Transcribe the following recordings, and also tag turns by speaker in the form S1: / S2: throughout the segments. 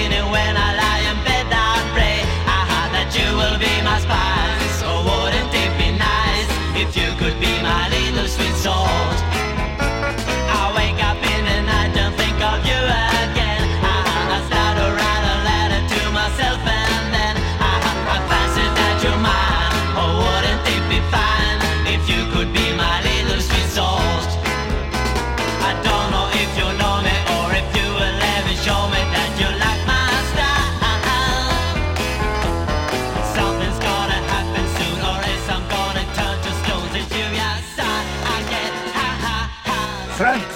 S1: Oh,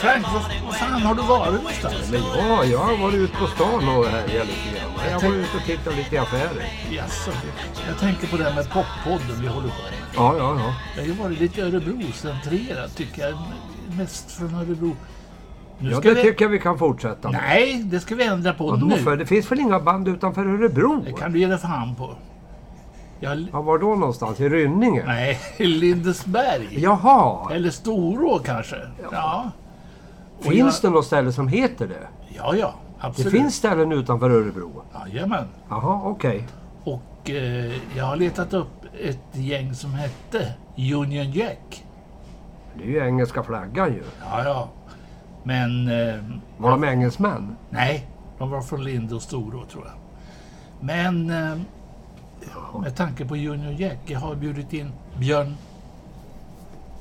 S1: Uh-huh, uh-huh, Oh,
S2: Vad fan har du varit någonstans?
S3: Men ja, jag har varit ute på stan och härjat lite grann. Jag var ute och tittade lite i affärer.
S2: Jaså, jag tänker på det här med poppodden vi håller på med.
S3: Ja, ja, ja.
S2: Jag har ju varit lite Örebro-centrerad tycker jag. Mest från Örebro. Nu
S3: ja
S2: ska
S3: det
S2: vi...
S3: tycker jag vi kan fortsätta med.
S2: Nej, det ska vi ändra på
S3: Vadå
S2: nu.
S3: för? Det finns väl inga band utanför Örebro?
S2: Det kan du ge dig fan på. Jag...
S3: Ja, var då någonstans? I Rynninge?
S2: Nej, Lindesberg.
S3: Jaha!
S2: Eller Storå kanske. Ja, och
S3: Finns det något ställe som heter det?
S2: ja, ja
S3: Det
S2: absolut.
S3: finns ställen utanför Örebro?
S2: Jajamän.
S3: Jaha, okej.
S2: Och eh, jag har letat upp ett gäng som hette Union Jack.
S3: Det är ju engelska flaggan ju.
S2: Ja, ja. Men eh,
S3: Var de engelsmän?
S2: nej, de var från Linde och Storå tror jag. Men eh, med tanke på Union Jack, jag har bjudit in Björn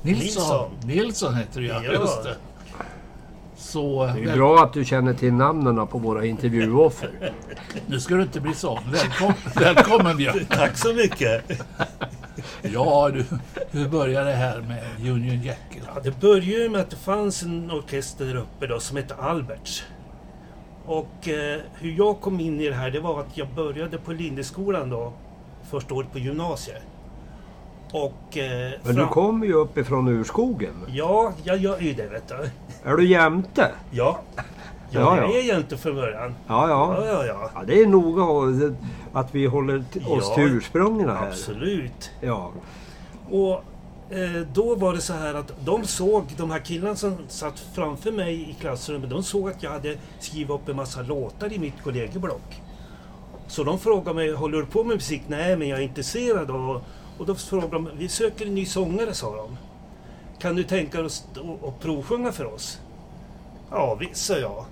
S2: Nilsson.
S4: Nilsson.
S2: Nilsson heter jag,
S4: Ja.
S2: just det. Så
S3: Det är
S2: väl-
S3: ju bra att du känner till namnen på våra intervjuoffer.
S2: nu ska du inte bli sån. Välkom, välkommen Björn.
S4: Tack så mycket.
S2: Ja du, hur börjar det här med Union Jack?
S4: Ja, det började ju med att det fanns en orkester där uppe då som hette Alberts. Och eh, hur jag kom in i det här det var att jag började på Lindeskolan då, första året på gymnasiet. Och... Eh,
S3: Men du
S4: fram-
S3: kommer ju uppifrån urskogen.
S4: Ja, jag gör ju det vet du.
S3: Är du jämte?
S4: Ja. Jag
S3: Ja, ja.
S4: är ju inte från början.
S3: Ja,
S4: Ja,
S3: ja.
S4: ja, ja.
S3: Ja, det är noga att- att vi håller t- oss
S4: Ja,
S3: till ursprungen här.
S4: Absolut.
S3: Ja.
S4: Och eh, då var det så här att de såg, de här killarna som satt framför mig i klassrummet, de såg att jag hade skrivit upp en massa låtar i mitt kollegieblock. Så de frågade mig, håller du på med musik? Nej, men jag är intresserad. Och, och då frågade de, vi söker en ny sångare, sa de. Kan du tänka oss att- att provsjunga för oss? Ja, visst, sa jag.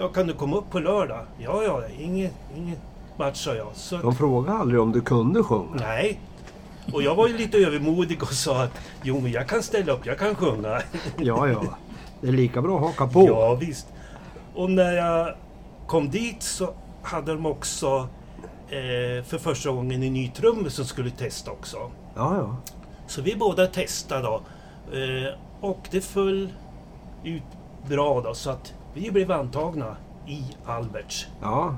S4: Ja, kan du komma upp på lördag? Ja, ja, inget, inget match, sa jag. Så att-
S3: De frågade aldrig om du kunde sjunga.
S4: Nej. Och jag var ju lite övermodig och sa att jo men jag kan ställa upp, jag kan sjunga.
S3: Ja, ja. Det är lika bra att haka på.
S4: Ja visst. Och när jag kom dit så hade de också eh, för första gången en ny trummis som skulle testa också.
S3: Ja, ja.
S4: Så vi båda testade då. Eh, och det föll ut bra då så att vi blev antagna i Alberts.
S3: ja.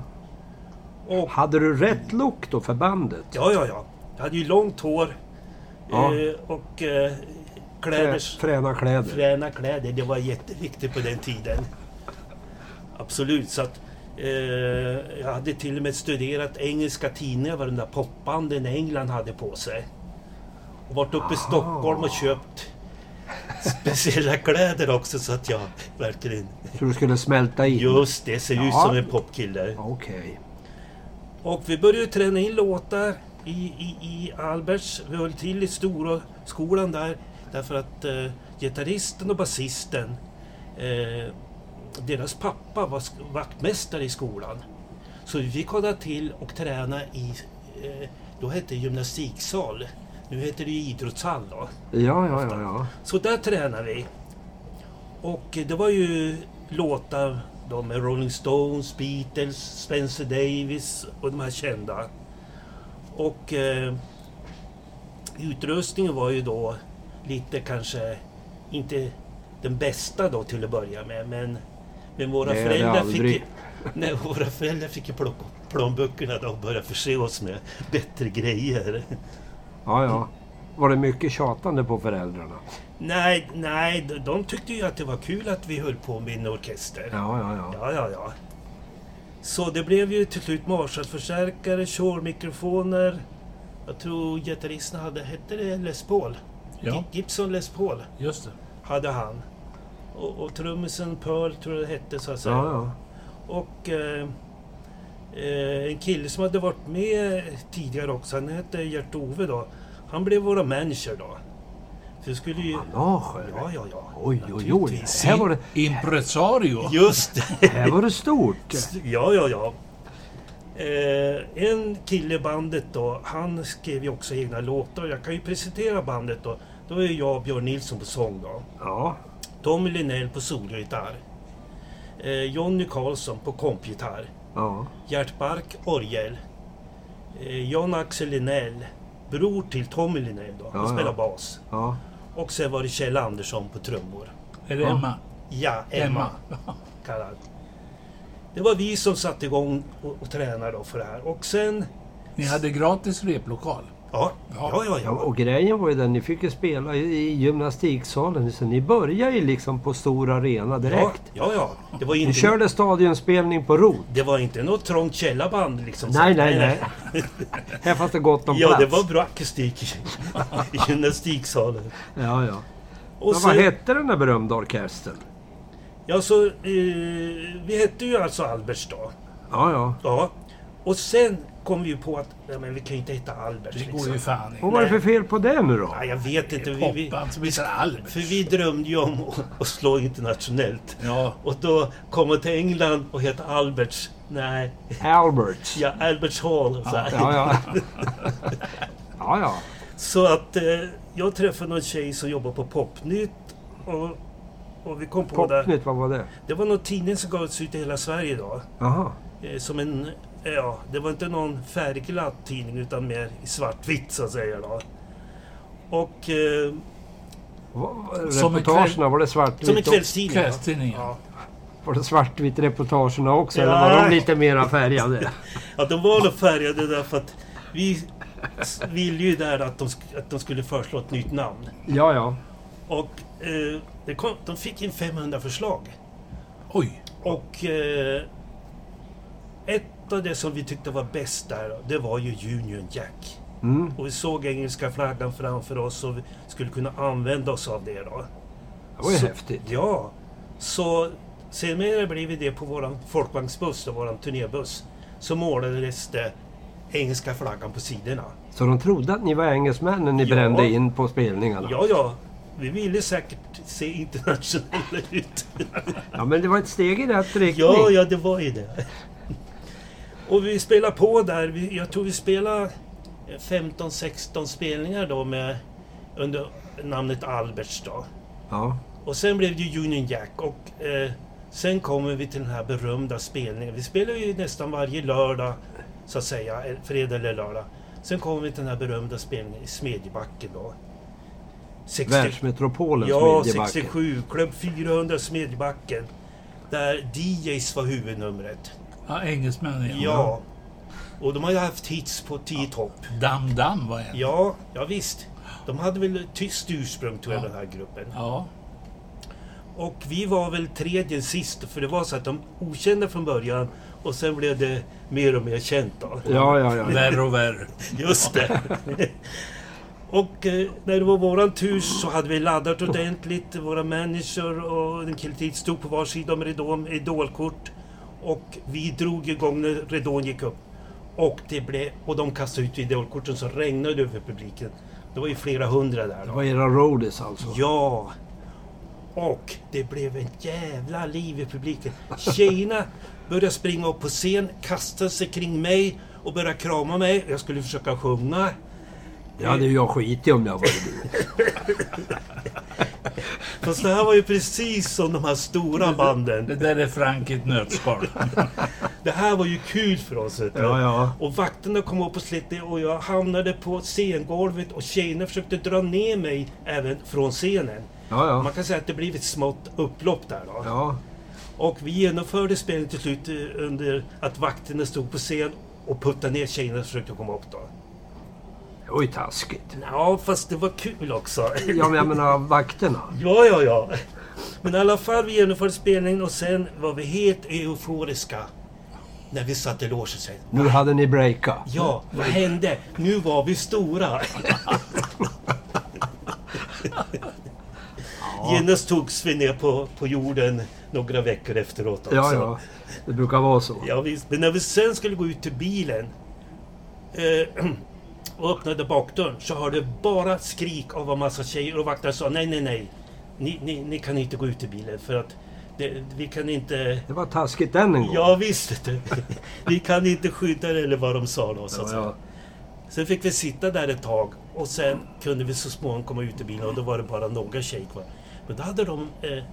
S4: Och
S3: Hade du rätt look då för bandet?
S4: ja, ja, ja. Jag hade ju långt hår
S3: Ja.
S4: eh, och eh,
S3: Frä,
S4: kläder.
S3: fräna kläder?
S4: Fräna kläder, det var jätteviktigt på den tiden. Absolut, så att eh, jag hade till och med studerat engelska tidningar vad de där popbanden i England hade på sig. Och varit uppe i Stockholm och köpt speciella kläder också så att jag verkligen...
S3: Så du skulle smälta in?
S4: Just det, ser ut
S3: Ja.
S4: som en popkille.
S3: Okej.
S4: Och vi började ju träna in låtar i, i, i Alberts. Vi höll till i stora skolan där. Därför att eh, gitarristen och basisten, eh, deras pappa var sk- vaktmästare i skolan. Så vi fick hålla till och träna i, eh, då hette det gymnastiksal. Nu heter det ju idrottshall då.
S3: Ja, ja, ja, ja.
S4: Så där tränade vi. Och eh, det var ju låtar då med Rolling Stones, Beatles, Spencer Davis och de här kända. Och eh, utrustningen var ju då lite kanske inte den bästa då till att börja med. Men, men våra,
S3: Det är det
S4: föräldrar fick, ju-
S3: aldrig.
S4: nej, våra föräldrar fick ju plocka upp plånböckerna då och börja förse oss med bättre grejer.
S3: ja, ja. Var det mycket tjatande på föräldrarna?
S4: Nej, nej, de- de tyckte ju att det var kul att vi höll på med en orkester. Ja,
S3: Ja, ja, ja.
S4: ja, ja. Så det blev ju till slut Marshallförstärkare, Shore-mikrofoner. Jag tror gitarristen hade, hette det Les Paul?
S2: Ja,
S4: Gibson Les Paul
S2: just det.
S4: hade han. Och, och trummisen Pearl tror jag det hette så att säga.
S3: Ja, ja.
S4: Och eh, eh, en kille som hade varit med tidigare också, han hette Gert-Ove då. Han blev våra manager då. För vi skulle ju...
S3: Manager?
S4: Ja, ja, ja.
S3: Oj, oj, oj.
S4: Naturligtvis.
S3: Här var det,
S2: Impresario.
S4: Just det.
S3: här var det stort.
S4: Ja, ja, ja. Eh, en kille i bandet då, han skrev ju också egna låtar. Jag kan ju presentera bandet då. Då är jag Björn Nilsson på sång då.
S3: Ja,
S4: Tommy Linnell på solgitarr. Eh, Jonny Karlsson på kompgitarr.
S3: ja.
S4: Gert Bark, orgel. Eh, Jan Axel Linnell, bror till Tommy Linnell då. Han
S3: Ja, ja.
S4: spelar bas.
S3: ja.
S4: Och sen var det Kjell Andersson på trummor.
S2: Är det
S3: Ja.
S2: Emma?
S4: Ja, Emma kallad. Det var vi som satte igång och, och tränade då för det här. Och sen...
S2: Ni hade gratis replokal.
S4: Ja, ja, ja.
S3: Ja,
S4: ja.
S3: och grejen var ju den, ni fick ju spela i, i gymnastiksalen. Så ni började ju liksom på stor arena
S4: Ja,
S3: direkt.
S4: ja, ja. Det var
S3: Ni
S4: inte,
S3: körde stadionspelning på rot.
S4: det var inte något trångt källarband liksom.
S3: Nej, nej, nej. Här fanns det gott om
S4: Ja,
S3: plats.
S4: det var bra akustik i i gymnastiksalen.
S3: Ja, ja.
S4: Och
S3: Men vad
S4: sen,
S3: hette den där berömda orkestern?
S4: ja, så, eh, vi hette ju alltså Alberts då.
S3: Ja, ja.
S4: Ja. Och sen kom vi ju på att ja, men vi kan ju inte heta Alberts.
S2: Det går
S4: liksom.
S2: ju fan inte.
S3: Vad var det för fel på det nu då?
S4: Ja, jag vet inte. Vi, vi,
S2: Popband som heter Albert.
S4: för vi drömde ju om att, att slå internationellt.
S2: Ja,
S4: Och då komma till England och heta Alberts. Nej,
S3: Alberts.
S4: ja, Alberts Hall. Så, här.
S3: Ja, ja. ja, ja.
S4: så att eh, jag träffade någon tjej som jobbar på Popnytt. Och, och vi kom på det.
S3: Popnytt, vad var det?
S4: Det var någon tidning som gavs ut i hela Sverige då.
S3: Jaha.
S4: Eh, som en, eh, ja, det var inte någon färgglatt tidning utan mer i svartvitt så att säga då. Och eh,
S3: Va- va-
S2: Som en
S3: Reportagen, var det
S4: som en
S3: svartvitt? också?
S4: kvällstidning. ja.
S2: kvällstidningen.
S4: Ja.
S3: Var det svartvitt reportagen också? Eller var de
S4: Nej.
S3: lite mera färgade?
S4: ja, de var nog färgade därför att vi s- ville ju där att de, sk- att de skulle föreslå ett nytt namn.
S3: Ja, ja.
S4: Och eh, det kom, de fick in 500 förslag.
S2: Oj,
S4: Och eh, ett av det som vi tyckte var bäst där, det var ju Union Jack.
S3: Mm.
S4: Och vi såg engelska flaggan framför oss och vi skulle kunna använda oss av det då.
S3: Det var ju
S4: Så-
S3: häftigt.
S4: Ja, så senare blev det det på våran folkvagnsbuss, då, våran turnébuss. Så målades det engelska flaggan på sidorna.
S3: Så de trodde att ni var engelsmän när ni
S4: Ja.
S3: brände in på spelningarna?
S4: Ja, ja, vi ville säkert se internationella ut.
S3: Ja, men det var ett steg i rätt riktning.
S4: Ja, ja, det var ju det. Och vi spelade på där. Vi, jag tror vi spelade 15-16 spelningar då med, under namnet Alberts då.
S3: ja.
S4: Och sen blev det ju Union Jack och eh, sen kommer vi till den här berömda spelningen. Vi spelar ju nästan varje lördag, så att säga, eh, fredag eller lördag. Sen kommer vi till den här berömda spelningen i Smedjebacken då. 60
S3: Världsmetropolen
S4: ja,
S3: Smedjebacken.
S4: 67, Klubb 400 Smedjebacken. Där DJs var huvudnumret.
S2: ja, engelsmännen igen.
S4: Ja. Och de har ju haft hits på 10 topp.
S2: Dam Dam var en.
S4: Ja, ja visst. De hade väl tyst ursprung tror jag, den här gruppen.
S2: Ja.
S4: Och vi var väl tredje sist, för det var så att de okända från början och sen blev det mer och mer känt då.
S3: Ja, ja, ja.
S2: Värre och värre.
S4: Just det. och eh, när det var våran tur så hade vi laddat ordentligt, våra manager och en kille till stod på var sida om ridån med idolkort. Och vi drog igång när ridån gick upp. Och, det blev, och de kastade ut idolkorten så regnade det över publiken. Det var ju flera hundra där.
S3: Det
S4: Då.
S3: var era roadies alltså?
S4: Ja! Och det blev ett jävla liv i publiken. Tjejerna började springa upp på scen, kasta sig kring mig och började krama mig. Jag skulle försöka sjunga.
S3: Det hade ju jag skit i om jag var du.
S4: Fast det här var ju precis som de här stora
S2: Det
S4: banden.
S2: där är Frank i ett nötskal.
S4: Det här var ju kul för oss. vet du.
S3: Ja, ja.
S4: Och vakterna kom upp och slet ner och jag hamnade på scengolvet och tjejerna försökte dra ner mig även från scenen.
S3: Ja, ja.
S4: Man kan säga att det blev ett smått upplopp där då.
S3: Ja,
S4: Och vi genomförde spelet till slut eh, under att vakterna stod på scen och puttade ner tjejerna som försökte komma upp då.
S3: det var ju taskigt.
S4: Ja, fast det var kul också.
S3: Ja, men jag menar vakterna.
S4: Ja, ja, ja. Men i alla fall, vi genomförde spelningen och sen var vi helt euforiska när vi satt i logen sen.
S3: Nu hade ni breakat.
S4: Ja, vad hände? Nu var vi stora. Genast togs vi ner på, på jorden några veckor efteråt också.
S3: Ja, ja. Det brukar vara så.
S4: Ja, visst. Men när vi sen skulle gå ut till bilen eh, och öppnade bakdörren så hörde bara skrik av en massa tjejer och vakterna sa nej, nej, nej. Ni, ni, ni kan inte gå ut till bilen för att det, vi kan inte...
S3: Det var taskigt än en gång.
S4: Ja, visst. vet du. vi kan inte skydda er eller vad de sa då. Så
S3: Ja,
S4: att säga.
S3: ja.
S4: Sen fick vi sitta där ett tag och sen kunde vi så småningom komma ut ur bilen och då var det bara några tjejer kvar. Men då hade de eh,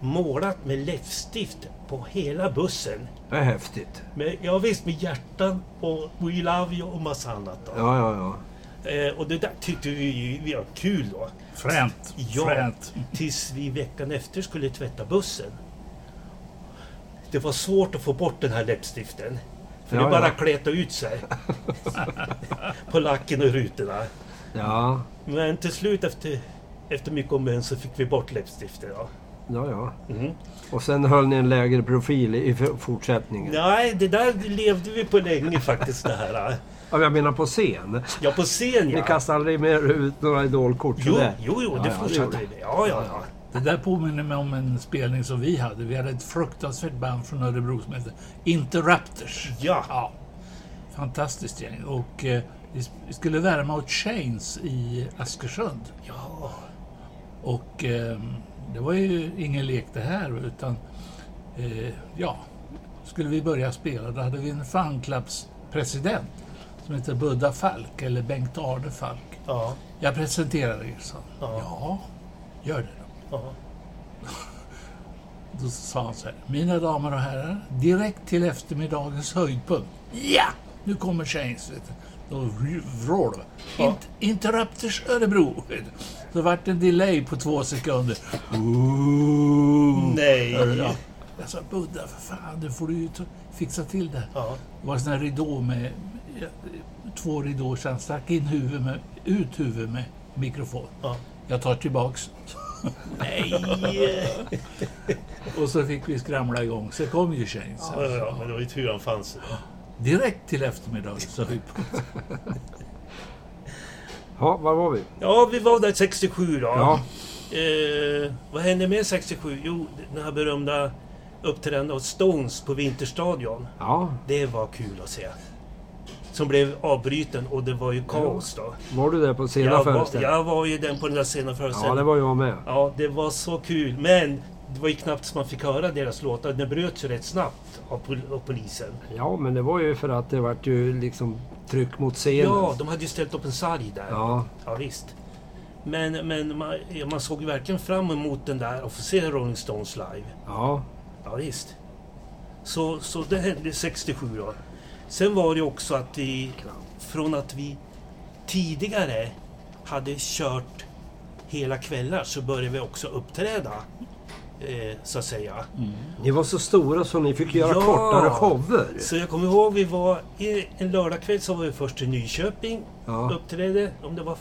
S4: målat med läppstift på hela bussen.
S3: Det är häftigt.
S4: Med, ja, visst, med hjärtan och We Love You och massa annat. Då.
S3: Ja, ja, ja.
S4: Eh, och det där tyckte vi, vi var kul då.
S2: Fränt.
S4: Ja.
S2: Fränt.
S4: Tills vi veckan efter skulle tvätta bussen. Det var svårt att få bort den här läppstiften. För
S3: Ja,
S4: det bara
S3: ja.
S4: kletade ut sig. på lacken och rutorna.
S3: Ja,
S4: Men till slut efter, efter mycket om och men så fick vi bort läppstiften. Ja.
S3: ja, ja.
S4: Mm.
S3: Och sen höll ni en lägre profil i f- fortsättningen.
S4: Nej, det där levde vi på länge faktiskt det här.
S3: Ja, jag menar på scen.
S4: Ja, på scen
S3: Ni
S4: ja.
S3: kastade aldrig mer ut några idolkort
S4: Jo,
S3: sådär?
S4: jo, jo,
S3: Ja,
S4: det
S3: ja,
S4: fortsatte vi
S3: gjorde
S4: med. Ja, ja, ja.
S2: Det där påminner mig om en spelning som vi hade. Vi hade ett fruktansvärt band från Örebro som hette Interrupters.
S4: Ja,
S2: Ja, fantastiskt gäng. Och eh, vi s- vi skulle värma åt Chains i Askersund.
S4: ja.
S2: Och eh, det var ju ingen lek det här, utan eh, ja, skulle vi börja spela då hade vi en fanclubspresident som heter Budda Falk, eller Bengt-Arne Falk.
S4: ja,
S2: Jag presenterar er, sa han.
S4: Ja.
S2: Ja, gör det då.
S4: ja.
S2: Då sa han så här. Mina damer och herrar, direkt till eftermiddagens höjdpunkt. Ja! Nu kommer Chains. vet du. Då vrålade det. Int- Interrupters Örebro. vet du. Så vart det en delay på två sekunder. Ooh.
S4: Nej.
S2: Hörde du? Ja. Jag sa, Budda, för fan, nu får du ju ta- fixa till det.
S4: Ja,
S2: Det var en sån här ridå med ja, två ridåer, så han stack in huvud med, ut huvud med mikrofon.
S4: ja.
S2: Jag tar tillbaks.
S4: Nej!
S2: Och så fick vi skramla igång. Så kom ju Chains.
S4: Ja, ja, men det var ju tur han fanns.
S2: Direkt till eftermiddagens höjdpunkt.
S3: Ja, var var vi?
S4: Ja, vi var där 67 då.
S3: Ja,
S4: Eh, vad hände med 67? Jo, den här berömda uppträdandet av Stones på Vinterstadion.
S3: ja.
S4: Det var kul att se. Som blev avbruten och det var ju kaos då.
S3: Var du där på sena
S4: Jag var,
S3: föreställningen?
S4: jag var ju den på den där sena föreställningen.
S3: Ja, det var jag med.
S4: Ja, det var så kul. Men det var ju knappt som man fick höra deras låtar. Den bröts ju rätt snabbt av, pol- av polisen.
S3: Ja, men det var ju för att det vart ju liksom tryck mot scenen.
S4: Ja, de hade ju ställt upp en sarg där.
S3: Ja,
S4: Ja, visst. Men, men man, ja, man såg ju verkligen fram emot den där och få se Rolling Stones live.
S3: ja.
S4: Ja, visst. Så, så det hände 67 då. Sen var det ju också att vi, från att vi tidigare hade kört hela kvällar så började vi också uppträda. Eh, så att säga.
S3: Ni var så stora så ni fick göra
S4: Ja.
S3: kortare shower.
S4: Så jag kommer ihåg vi var i en lördagkväll så var vi först i Nyköping.
S3: Ja.
S4: Uppträdde om det var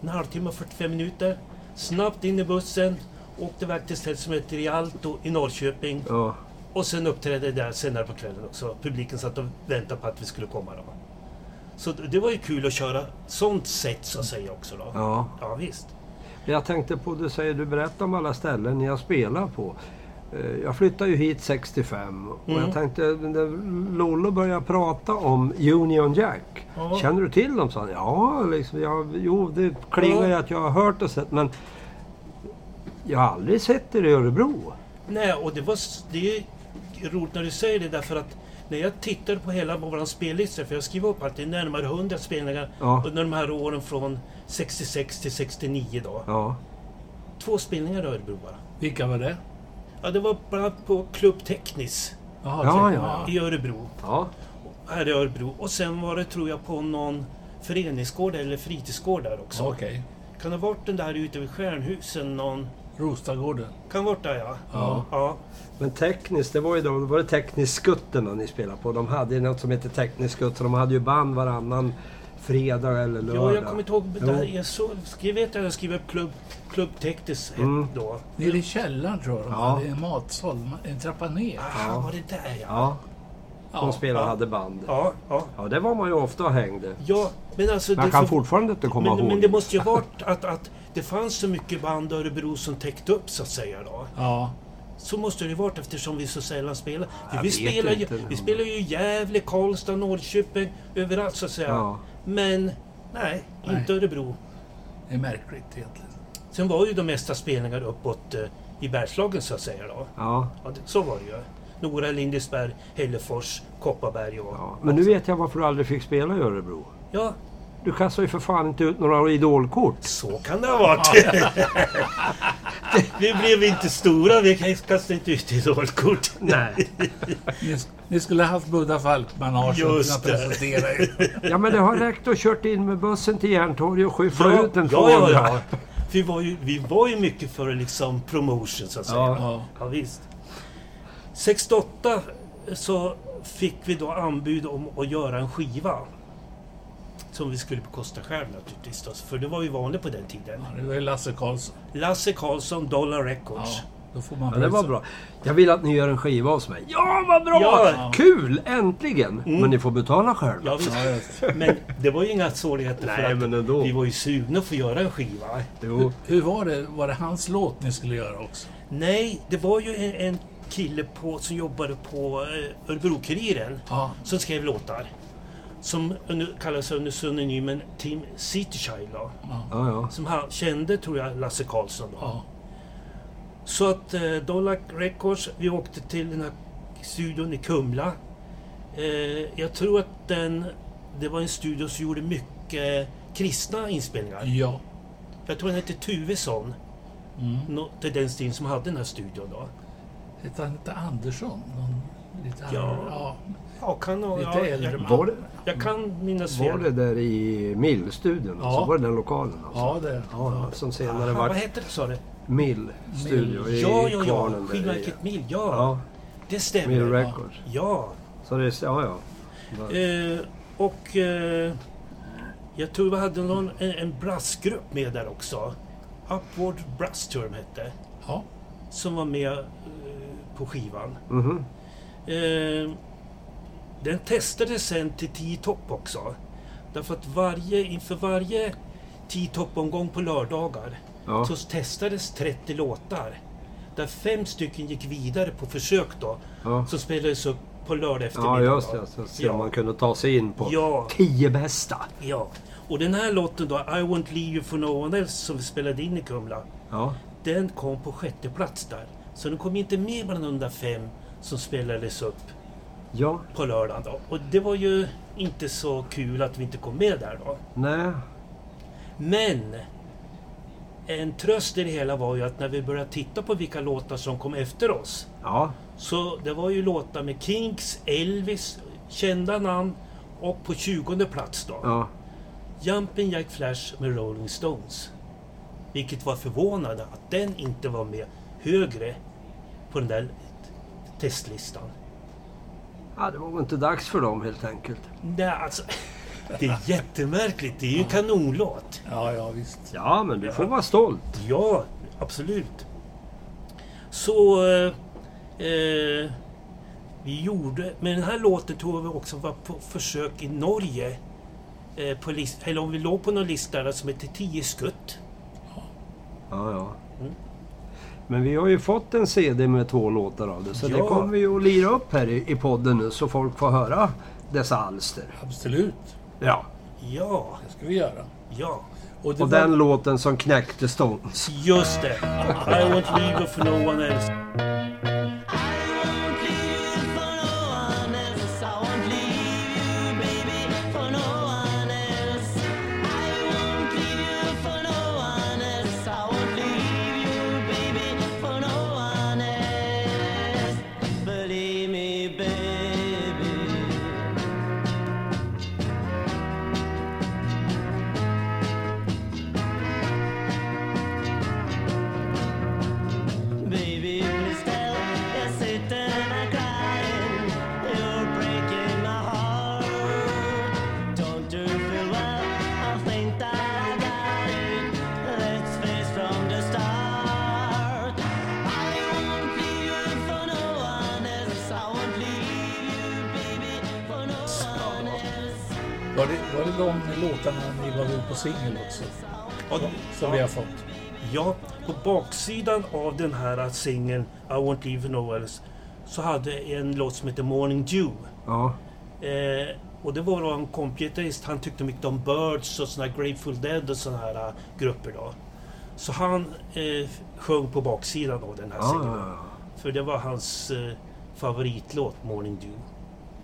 S4: en halvtimme, 45 minuter. Snabbt in i bussen. Åkte iväg till ett ställe som heter Rialto i Norrköping.
S3: ja.
S4: Och sen uppträdde där senare på kvällen också. Publiken satt och väntade på att vi skulle komma då. Så d- det var ju kul att köra sånt sätt så att säga också då.
S3: Ja.
S4: Ja, visst.
S3: Men Jag tänkte på, du säger du berättar om alla ställen ni har spelat på. Eh, Jag flyttade ju hit 65 och
S4: Mm.
S3: jag tänkte, när Lollo började prata om Union Jack.
S4: Ja.
S3: Känner du till dem? sa han. Ja, liksom, jag, jo det klingar ju
S4: Ja.
S3: att jag har hört och sett men jag har aldrig sett er i Örebro.
S4: Nej, och det var... s- Det är roligt när du säger det därför att när jag tittade på hela vår spellista, för jag skrev upp att det är närmare 100 spelningar
S3: Ja.
S4: under de här åren från 66 till 69 då.
S3: Ja,
S4: Två spelningar i Örebro bara.
S2: Vilka var det?
S4: Ja, det var bara på Club Teknis
S2: Jaha,
S3: Ja,
S2: säkert.
S3: ja.
S4: i Örebro.
S3: ja,
S4: här i Örebro. Och sen var det, tror jag, på någon föreningsgård eller fritidsgård där också.
S2: Okej.
S4: Kan det ha varit den där ute vid Stjärnhusen någon...
S2: Rostagården.
S4: Kan ha varit där, ja.
S2: Ja.
S4: ja.
S3: men tekniskt, det var ju då, var det tekniskskötterna ni spelade på. De hade ju något som hette tekniskskötter. De hade ju band varannan fredag eller lördag.
S4: Ja, jag kommer inte ihåg.
S3: Jo.
S4: Det här, jag, så, jag vet att jag skrev upp Klubb, Klubb Tektis hette
S3: Mm.
S4: då.
S2: Nere i källaren tror jag de
S3: Ja.
S2: hade en matsal, en trappa ner.
S4: Aha,
S3: Ja.
S4: var det där Ah, ja.
S3: Ja, de
S2: Ja.
S3: spelarna
S4: ja.
S3: hade band.
S4: Ja, ja.
S3: Ja, det var man ju ofta och hängde.
S4: ja men alltså...
S3: Man
S4: det
S3: kan
S4: får-
S3: fortfarande inte komma
S4: men,
S3: ihåg.
S4: men det måste ju ha varit att, att det fanns så mycket band i Örebro som täckte upp så att säga då.
S2: ja.
S4: Så måste det ju varit eftersom vi så sällan spelar. För
S3: Jag
S4: vi,
S3: vet
S4: spelar ju,
S3: inte, men-
S4: vi spelar ju i Gävle, Karlstad, Norrköping, överallt så att säga.
S3: Ja.
S4: Men nej,
S2: Nej.
S4: inte Örebro.
S2: Det är märkligt egentligen.
S4: Sen var ju de mesta spelningar uppåt eh, i Bergslagen så att säga. Då.
S3: Ja,
S4: Ja, det, så var det ju. Nora, Lindesberg, Hällefors, Kopparberg och...
S3: ja. Men nu vet jag varför du aldrig fick spela i Örebro.
S4: Ja,
S3: Du Du kastar ju för fan inte ut några idolkort.
S4: Så kan det ha varit. vi blev inte stora, vi kastade inte ut idolkort.
S3: Nej.
S2: Ni, ni skulle ha haft Budda Falkman Larsson
S4: Just
S2: att
S4: det.
S2: presentera er.
S3: Ja men det har räckt att kört in med bussen till Järntorget och skyffla ut en
S4: ja, ja,
S3: 200.
S4: ja. Vi var, ju, vi var ju mycket för liksom promotion så att säga.
S3: Ja.
S2: Ja.
S4: Ja, visst. 68 så fick vi då anbud om att göra en skiva. Som vi skulle bekosta själv naturligtvis. Då, för det var ju vanligt på den tiden.
S2: Det var ju Lasse Karlsson.
S4: Lasse Karlsson, Dollar
S2: Ja,
S4: Records.
S2: då får man
S3: Ja, det var bra. Jag vill att ni gör en skiva hos mig. Ja, vad bra!
S4: Ja. Mm.
S3: Kul! Äntligen! Men ni får betala själva.
S4: Ja, visst.
S2: Ja, just.
S4: Men det var ju inga svårigheter för
S3: Nej,
S4: att
S3: men ändå.
S4: vi var ju sugna för att göra en skiva.
S3: Jo.
S2: Hur var det? Var det hans låt ni skulle göra också?
S4: Nej, det var ju en, en kille på, som jobbade på eh, Örebro-Kuriren
S2: Ja.
S4: som skrev låtar. Som under, kallades under pseudonymen Tim Citychild då.
S3: Ja, ja.
S4: Som han kände, tror jag, Lasse Karlsson då.
S2: Ja.
S4: Så att eh, Dollar Records, vi åkte till den här studion i Kumla. Eh, jag tror att den, det var en studio som gjorde mycket kristna inspelningar.
S2: ja.
S4: Jag tror han hette Tuvesson.
S2: Mm.
S4: Nå- Till den stilen som hade den här studion då.
S2: Hette han inte Andersson? Någon lite
S4: Ja.
S2: annan- ja.
S4: Ja, kan, ha-
S2: Lite
S4: ja,
S2: äldre
S4: jag,
S2: man.
S3: Var det,
S4: jag kan minnas
S3: var
S4: fel.
S3: det där i Mill-studion? Alltså?
S2: Ja.
S3: Var det den lokalen? Alltså?
S2: Ja, det.
S3: Ja, som senare
S4: Fan, vad
S3: var
S4: hette det sa du?
S3: Mill-studio i
S4: Ja, ja, ja.
S3: Kvarnen. där i-
S4: Skivmärket Mil. Ja,
S3: Ja,
S4: det stämmer.
S3: Mill Records.
S4: Ja.
S3: Så det är, ja, ja.
S4: Eh, och eh, jag tror vi hade någon, en, en brassgrupp med där också. Upward Brass tror jag de hette.
S2: Ja.
S4: Som var med eh, på skivan.
S3: Mhm.
S4: Eh, den testades sen till 10 topp också. Därför att varje, inför varje 10 topp-omgång på lördagar
S3: Ja.
S4: så testades 30 låtar. Där fem stycken gick vidare på försök då.
S3: Ja.
S4: Som spelades upp på lördag
S3: ja,
S4: eftermiddag.
S3: just
S4: då.
S3: det. Så att se
S4: Ja.
S3: om man kunde ta sig in på
S4: Ja.
S3: tio bästa.
S4: Ja. Och den här låten då, I won't leave you for no one else, som vi spelade in i Kumla.
S3: Ja.
S4: Den kom på sjätte plats där. Så den kom inte med bland de där fem som spelades upp
S3: ja.
S4: på lördagen då. Och det var ju inte så kul att vi inte kom med där då.
S3: Nej.
S4: Men en tröst i det hela var ju att när vi började titta på vilka låtar som kom efter oss.
S3: Ja.
S4: Så det var ju låtar med Kinks, Elvis, kända namn och på 20 plats då.
S3: Ja.
S4: Jumpin' Jack Flash med Rolling Stones. Vilket var förvånande att den inte var med högre på den där testlistan.
S3: ja, det var väl inte dags för dem helt enkelt.
S4: Nej, alltså. Det är jättemärkligt. Det är ju en kanonlåt.
S2: ja, ja visst.
S3: Ja, men du får vara stolt.
S4: Ja, absolut. Så... eh, Eh, vi gjorde... Men den här låten tror jag vi också var på försök i Norge. Eh, på list, eller om vi låg på någon lista där som hette 10 skutt.
S3: Ja, ja.
S4: Mm.
S3: Men vi har ju fått en CD med två låtar av det, så det
S4: Ja.
S3: kommer vi ju att lira upp här i, i podden nu så folk får höra dessa alster.
S2: Absolut.
S3: Ja.
S4: Ja,
S2: Det ska vi göra.
S4: ja.
S2: det
S3: Och
S2: var-
S3: den låten som knäckte Stones.
S4: Just det. I won't leave you for no one else.
S1: Believe me, baby. Baby, please tell you're sitting and crying. You're breaking my heart. Don't you feel well? I think that I got it. Let's face from the start. I won't leave you for no one else. I won't leave you, baby, for no one else.
S2: Var det, var det de låtarna ni gav ut på singel också?
S4: Ja,
S2: Som vi har fått?
S4: Ja, på baksidan av den här singeln I won't leave you no else så hade en låt som heter Morning Dew.
S3: Ja.
S4: Eh, och det var då en kompgitarrist, han tyckte mycket om Birds och såna här Grateful Dead och såna här eh, grupper då. Så han eh, sjöng på
S3: Ah.
S4: baksidan av den här
S3: Ja,
S4: singeln.
S3: ja, ja.
S4: För det var hans eh, favoritlåt, Morning Dew.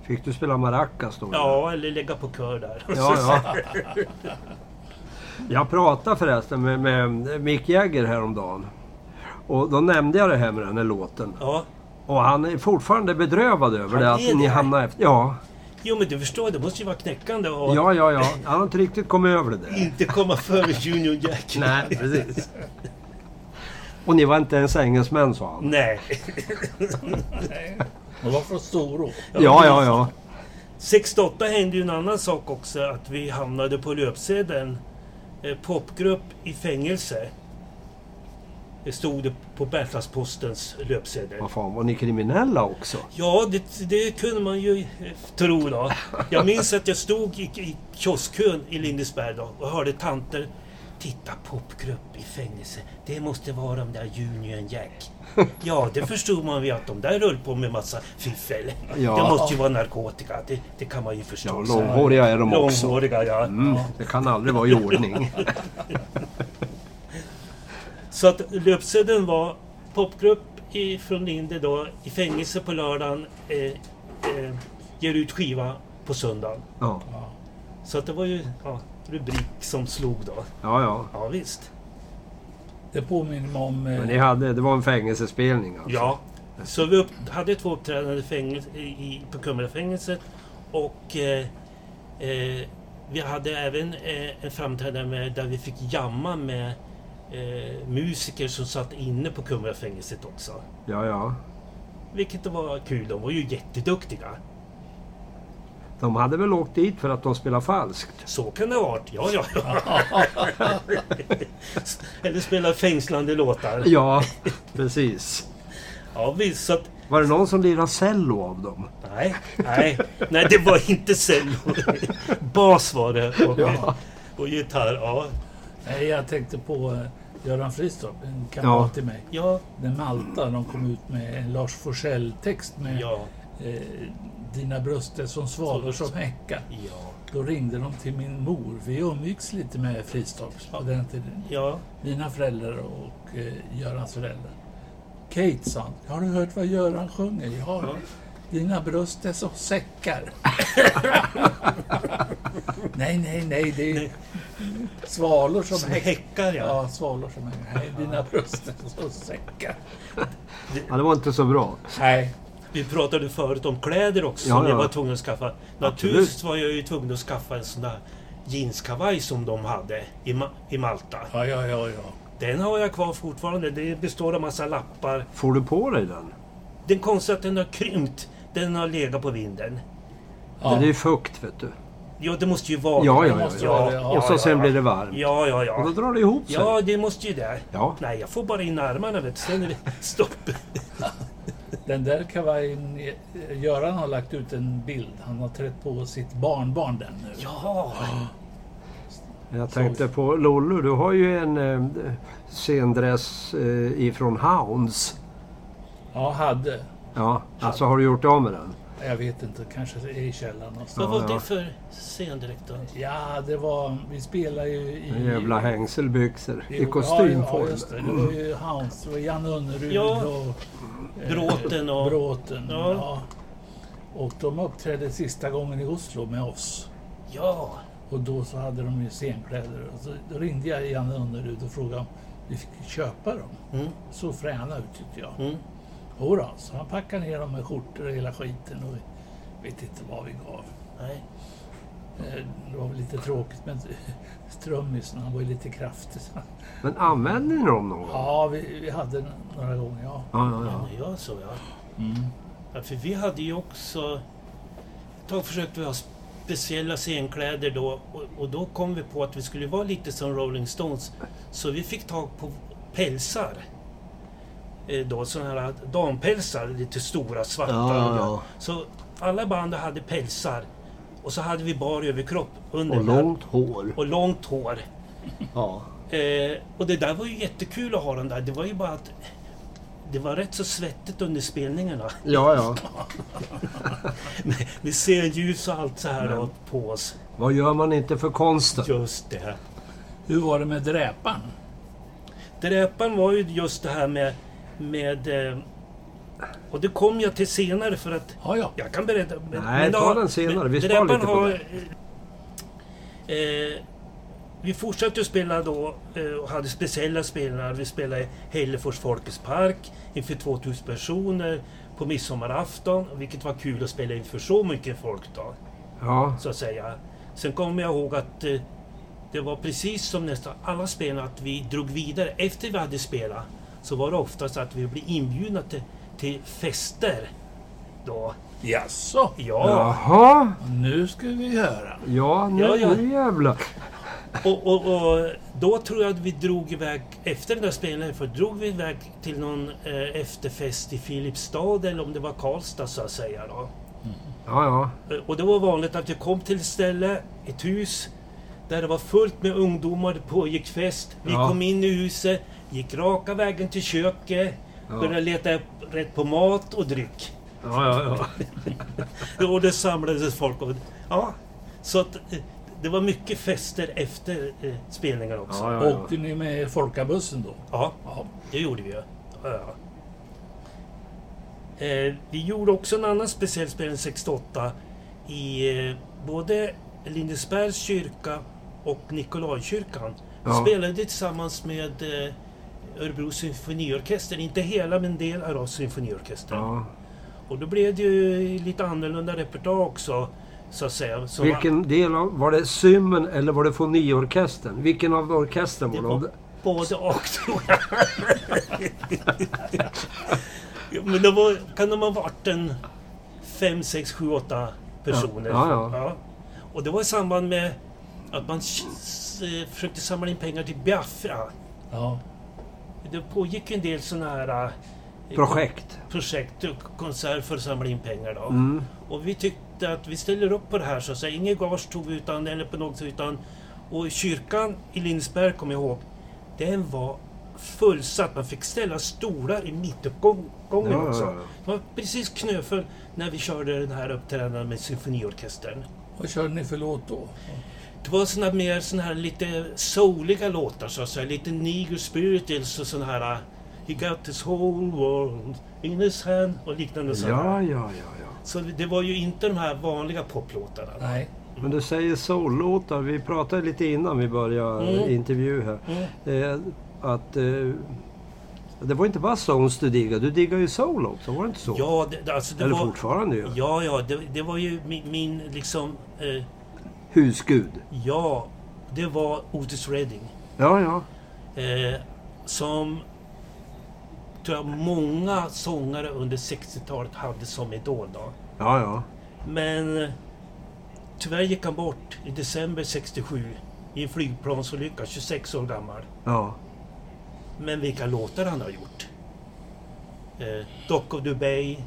S3: Fick du spela maracas då?
S4: Ja, eller lägga på kör där.
S3: Ja, ja. Jag pratade förresten med, med Mick Jagger häromdagen. Och då nämnde jag det här med den här låten.
S4: ja.
S3: Och han är fortfarande bedrövad över det.
S4: är
S3: Att ni
S4: det?
S3: hamnar efter. Ja,
S4: Jo, men du förstår, det måste ju vara knäckande och
S3: ja, ja, ja. Han har inte riktigt kommit över det där.
S4: inte komma före Junior Jack.
S3: Nej, precis. Och ni var inte ens engelsmän sa han.
S4: Nej.
S2: Och var från Storå.
S3: Ja, ja, ja.
S4: 68 hände ju en annan sak också, att vi hamnade på löpsedeln. Eh, Popgrupp i fängelse. Det stod det på Bergslagspostens löpsedel.
S3: Vad fan, var ni kriminella också?
S4: Ja, det, det kunde man ju eh, tro då. Jag minns att jag stod i, i kioskkön i Lindesberg då och hörde tanter Titta popgrupp i fängelse. Det måste vara de där Union Jack. Ja, det förstod man ju att de där höll på med massa fiffel.
S3: Ja.
S4: Det måste ju vara narkotika. Det, det kan man ju förstå.
S3: Ja,
S4: så här.
S3: långhåriga är de också.
S4: Långhåriga, ja.
S3: Mm, det kan aldrig vara i ordning.
S4: Så att löpsedeln var popgrupp i, från Linde då i fängelse på lördagen. Eh, eh, ger ut skiva på söndagen.
S3: Ja,
S4: Så att det var ju ja, rubrik som slog då.
S3: ja. ja.
S4: Ja visst.
S2: Det påminner mig om...
S3: Men
S2: Eh,
S3: ni hade, det var en fängelsespelning alltså?
S4: Ja. Så vi upp, hade två uppträdanden i fängelse, i, i- på Kumlafängelset och eh, eh, vi hade även eh, en framträdande med, där vi fick jamma med eh, musiker som satt inne på Kumlafängelset också.
S3: Ja, ja.
S4: Vilket var kul, de var ju jätteduktiga.
S3: De hade väl åkt dit för att de spelade falskt?
S4: Så kan det ha varit, ja ja. ja. Eller spela fängslande låtar.
S3: Ja, precis.
S4: Ja visst, så att
S3: Var det någon som lirade cello av dem?
S4: Nej, nej, nej det var inte cello. Bas var det och,
S3: Ja.
S4: och gitarr. Ja,
S2: nej, jag tänkte på eh, Göran Fristorp, en kamrat till mig.
S4: ja,
S2: När Malta, de kom ut med en Lars Forssell-text med
S4: ja.
S2: eh, Dina bröst är som svalor som häckar.
S4: ja.
S2: Då ringde de till min mor. Vi umgicks lite med Fristorps på den tiden.
S4: ja.
S2: Mina föräldrar och eh, Görans föräldrar. Kate sa han, har du hört vad Göran sjunger? Ja. Dina bröst är som säckar. nej, nej, nej, det är svalor som,
S4: Som
S2: häckar.
S4: häckar ja.
S2: Ja, svalor som häckar. Nej, dina bröst är som säckar.
S3: Ja, det var inte så bra.
S2: Nej,
S4: Vi pratade förut om kläder också
S3: Ja,
S4: som
S3: ja.
S4: jag var tvungen att skaffa. Naturligtvis var jag ju tvungen att skaffa en sån där jeanskavaj som de hade i, Ma- i Malta.
S2: ja, ja, ja. ja.
S4: Den har jag kvar fortfarande. Det består av massa lappar.
S3: Får du på dig den?
S4: Den konstiga att den har krympt. Den har legat på vinden.
S2: ja.
S3: Det är ju fukt, vet du.
S4: Ja, det måste ju vara.
S3: Ja, ja,
S2: måste
S3: ja.
S2: vara det,
S3: ja.
S2: ja.
S3: Och så
S4: Ja,
S3: sen
S4: ja,
S3: blir det varmt.
S4: Ja, ja, ja.
S3: Och då drar det ihop sig.
S4: Ja, det måste ju det.
S3: Ja.
S4: Nej, jag får bara in armarna vet du. Sen är det stopp.
S2: Den där kavajen, eh, Göran har lagt ut en bild. Han har trätt på sitt barnbarn den nu.
S4: Ja,
S3: Jag tänkte på Lollo, du har ju en eh, scendress eh, ifrån Hounds.
S2: Ja, hade.
S3: Ja, alltså har du gjort av med den?
S2: Jag vet inte, kanske är i källaren
S4: vad
S2: någonstans.
S4: var
S3: ja.
S4: det för scendräkt då?
S2: Ja, det var... Vi spelade ju i...
S3: En jävla hängselbyxor
S2: Jo,
S3: i
S2: Ja, ja,
S3: kostymform.
S2: just det. Det var ju Hounds, det var Janne Önnerud
S4: Ja.
S2: och eh,
S4: Bråten och...
S2: Bråten.
S4: Ja.
S2: Ja. Och de uppträdde sista gången i Oslo med oss.
S4: Ja,
S2: Och då så hade de ju scenkläder. Och så, då ringde jag Janne Önnerud och frågade om vi fick köpa dem.
S4: Mm.
S2: Så fräna ut tyckte jag.
S4: Mm.
S2: Jodå, så han packade ner dem med skjortor och hela skiten. Och vi vet inte vad vi gav.
S4: nej.
S2: Eh, Det var väl lite tråkigt men Strömmisen han var ju lite kraftig. så-
S3: Men använder ni dem någon gång? Ja,
S2: Ja, vi, vi hade den några gånger ja.
S3: ja, Mm.
S4: Ja,
S3: ja.
S4: men jag så ja. ja. För vi hade ju också... Ett tag försökte vi ha speciella scenkläder då och, och då kom vi på att vi skulle vara lite som Rolling Stones. Så vi fick tag på pälsar. Eh, då sådana här dampälsar, lite stora svarta.
S3: Ja, ja, ja.
S4: Så alla band hade pälsar och så hade vi bar överkropp under.
S3: Och
S4: den här-
S3: långt hår.
S4: och långt hår.
S3: Ja.
S4: Eh, och det där var ju jättekul att ha den där. Det var ju bara att det var rätt så svettigt under spelningarna.
S3: Ja, ja.
S4: Med, med scenljus och allt så här då, på oss.
S3: Vad gör man inte för konsten?
S4: Just det.
S2: Hur var det med dräpan?
S4: Dräpan var ju just det här med, med eh, Och det kom jag till senare för att
S2: Ja, ja.
S4: jag kan berätta.
S3: Nej, ta
S4: ja,
S3: den senare. Vi
S4: men
S3: spar lite
S4: Drepan
S3: på
S4: har, eh, eh, Vi fortsatte spela då eh, och hade speciella spelningar. Vi spelade i Hällefors Folkets Park inför 2000 personer på midsommarafton. Vilket var kul att spela inför så mycket folk då,
S3: Ja,
S4: så att säga. Sen kommer jag ihåg att eh, det var precis som nästan alla spelare att vi drog vidare. Efter vi hade spelat så var det oftast att vi blev inbjudna till, till fester. Då.
S2: Jaså?
S4: Ja,
S3: jaha.
S2: Nu ska vi höra.
S3: Ja, nu,
S4: Ja, ja.
S3: nu jävlar.
S4: Och, och, och då tror jag att vi drog iväg, efter den där spelningen, för drog vi iväg till någon eh, efterfest i Filipstad eller om det var Karlstad så att säga. Då.
S3: Ja, ja.
S4: Eh, Och det var vanligt att vi kom till ett ställe, ett hus, där det var fullt med ungdomar, det pågick fest. Vi
S3: Ja.
S4: kom in i huset, gick raka vägen till köket,
S3: Ja.
S4: började leta upp rätt på mat och dryck.
S3: Ja, ja, ja.
S4: Och det samlades folk. Och, ja, så att, eh, det var mycket fester efter eh, spelningar också.
S3: ja, ja, ja.
S2: Åkte ni med folkabussen då?
S4: Ja,
S2: Ja.
S4: det gjorde vi ju. Ja. Eh, vi gjorde också en annan speciell spelning 68 i eh, både Lindesbergs kyrka och Nikolajkyrkan. Vi
S3: Ja.
S4: spelade tillsammans med eh, Örebro symfoniorkester, inte hela men delar av symfoniorkestern.
S3: ja.
S4: Och då blev det ju lite annorlunda repertoar också. Så att säga. Som
S3: Vilken del av... Var det symmen eller var det foniorkestern? Vilken av orkestern var
S4: Det
S3: det?
S4: var
S3: Om det-
S4: både och tror jag. Jo, Men det var, kan de ha varit en fem, sex, sju, åtta personer.
S3: Ja, ja, ja.
S4: Och det var i samband med att man s- s- försökte samla in pengar till Biafra.
S2: ja.
S4: Det pågick ju en del sådana här eh,
S3: Projekt.
S4: projekt och konsert för att samla in pengar. Då.
S3: Mm.
S4: Och vi tyckte att vi ställer upp på det här, så att säga. Inget gage tog vi utan, eller på något sätt utan. Och kyrkan i Lindesberg, kommer jag ihåg, den var fullsatt. Man fick ställa stolar i mittuppgången
S3: Ja,
S4: också.
S3: ja, ja.
S4: Det var precis knöfull när vi körde den här uppträdandet med symfoniorkestern.
S2: Vad körde ni för låt då?
S4: Det var såna mer såna här lite souliga låtar så att säga. Lite Negro Spirituals och såna här He got this whole world in his hand och liknande
S3: Ja,
S4: sådana.
S3: ja, ja, ja.
S4: Så det var ju inte de här vanliga poplåtarna.
S2: Nej.
S3: Men du säger soul-låtar. Vi pratade lite innan vi började
S4: Mm.
S3: intervju här.
S4: Mm.
S3: Eh, att... Eh, det var inte bara soul du diggade. Du diggade ju soul också, var det inte så?
S4: Ja, det, det- alltså det
S3: eller
S4: var...
S3: fortfarande ju.
S4: Ja, ja, det, det var ju min, min liksom... Eh,
S3: Husgud.
S4: ja, det var Otis Redding.
S3: Ja, ja.
S4: Eh, som tror jag många sångare under 60-talet hade som idol då.
S3: Ja, ja.
S4: Men eh, tyvärr gick han bort i december 67 i en flygplansolycka, 26 år gammal.
S3: Ja,
S4: Men vilka låtar han har gjort. Eh, Dock of Dubai,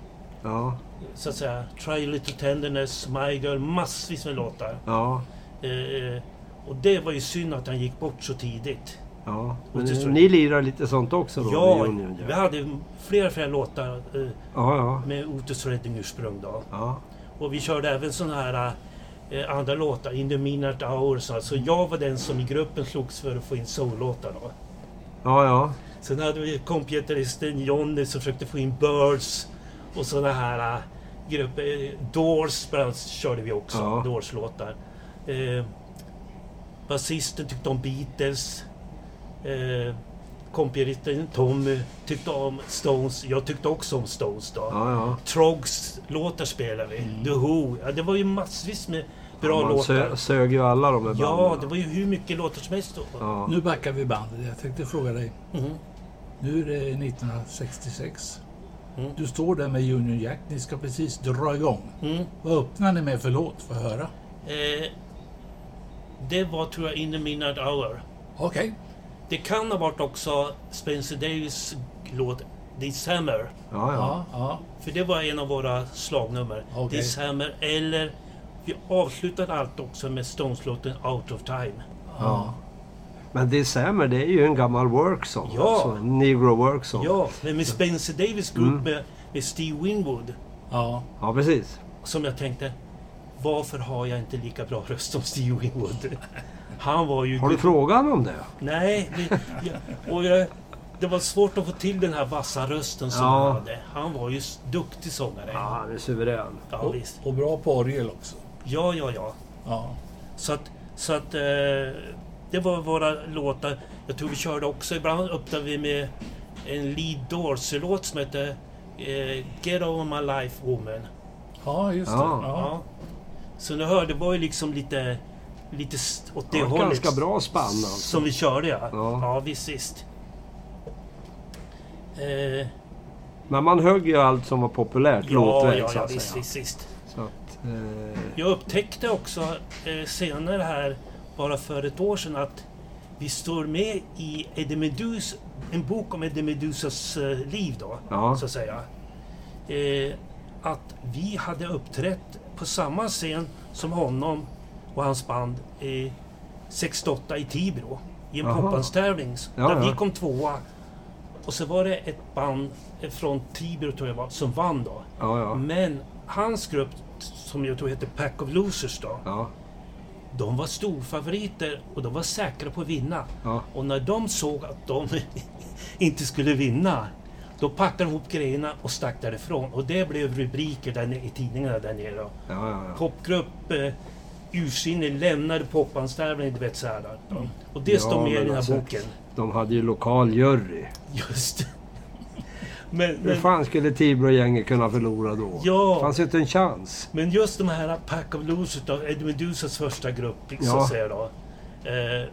S3: ja,
S4: så att säga, Try a Little Tenderness, My Girl, massvis med låtar.
S3: ja.
S4: Eh, och det var ju synd att han gick bort så tidigt.
S3: ja. Men
S4: Och till
S3: ni,
S4: slut-
S3: ni lirar lite sånt också då?
S4: ja,
S3: i Union
S4: vi
S3: Jack?
S4: hade flera, flera låtar eh,
S3: Ja, ja.
S4: med Otis Redding ursprung då.
S3: Ja,
S4: Och vi körde även sådana här eh, andra låtar, In the Midnight Hours. Alltså jag var den som i gruppen slogs för att få in soul-låtar då.
S3: ja. ja.
S4: Sen hade vi kompgitarristen Johnny som försökte få in Birds och sådana här eh, grupper. Doors bland annat körde vi också,
S3: Ja.
S4: Doors-låtar. Eh, basisten tyckte om Beatles. Eh, kompgitarristen Tommy tyckte om Stones. Jag tyckte också om Stones då.
S3: ja, ja.
S4: Trogs-låtar spelade vi. The Who. Ja, det var ju massvis med bra
S3: Man
S4: låtar.
S3: sö- sög ju alla de här
S4: Ja,
S3: banden.
S4: det var ju hur mycket låtar som helst då.
S3: Ja.
S2: Nu backar vi bandet. Jag tänkte fråga dig.
S4: Mhm.
S2: Nu är det 1966.
S4: Mm.
S2: Du står där med Union Jack. Ni ska precis dra igång.
S4: Mm.
S2: Vad öppnar ni med för låt? Få höra.
S4: Eh, det var tror jag In the Midnight Hour.
S2: Okej.
S4: Det kan ha varit också Spencer Davis låt This Hammer.
S3: Ja, ja.
S2: Ja, ja.
S4: För det var en av våra slagnummer.
S2: Okej.
S4: This Hammer eller vi avslutade allt också med Stones-låten Out of Time.
S3: ja. Men December, det är ju en gammal worksong.
S4: Ja.
S3: Alltså, negro worksong.
S4: Ja, men med Spencer Davis grupp med, med Steve Winwood.
S2: ja.
S3: ja, precis.
S4: Som jag tänkte, varför har jag inte lika bra röst som Steve Winwood? Han var ju...
S3: Har du frågat honom om det?
S4: Nej, vi, jag, och jag, det var svårt att få till den här vassa rösten som
S3: Ja.
S4: han hade. Han var ju s- duktig sångare.
S3: Ja, han är suverän.
S4: Ja,
S2: Och,
S4: visst.
S2: och bra på orgel också.
S4: Ja, ja, ja.
S2: Ja.
S4: Så att, så att eh, det var våra låtar. Jag tror vi körde också, ibland öppnade vi med en Lee Dorsey-låt som hette eh, Get on my life woman.
S2: ja, just det.
S3: Ja.
S2: Ja.
S4: Ja. Så ni hörde, det var ju liksom lite, lite s- åt det
S3: Det var
S4: hållet.
S3: ganska bra spann alltså.
S4: Som vi körde ja.
S3: Ja.
S4: Ja, visst, visst. Eh,
S3: Men man högg ju allt som var populärt
S4: ja, ja,
S3: låtvägen så
S4: ja,
S3: att
S4: visst,
S3: säga.
S4: visst, visst.
S3: Så att, eh,
S4: Jag upptäckte också eh, senare här, bara för ett år sedan, att vi står med i Eddie Medus, en bok om Eddie Medusas eh, liv då,
S3: Ja.
S4: så att säga. Eh, att vi hade uppträtt på samma scen som honom och hans band eh, 68 i Tibro. I en
S3: Jaha.
S4: popbandstävling
S3: Ja,
S4: där
S3: ja.
S4: vi kom tvåa. Och så var det ett band eh, från Tibro tror jag var, som vann då.
S3: ja, ja.
S4: Men hans grupp, som jag tror heter Pack of Losers då,
S3: Ja,
S4: de var storfavoriter och de var säkra på att vinna.
S3: ja.
S4: Och när de såg att de inte skulle vinna, då packade de ihop grejerna och stack därifrån. Och det blev rubriker där nere, i tidningarna där nere.
S3: Ja, ja, ja.
S4: Popgrupp eh, ursinnig lämnade popbandstävlingen, du vet så här. då. Och det
S3: Mm. Ja,
S4: står med i
S3: men
S4: den här
S3: alltså-
S4: boken.
S3: De hade ju lokal jury.
S4: Just det. Men,
S3: Hur
S4: men,
S3: fan skulle Tibro-gänget kunna förlora då?
S4: Ja.
S3: Fanns ju inte en chans.
S4: Men just de här Pack of Losers då, Eddie Medusas första grupp, så
S3: Ja.
S4: att säga då. Eh,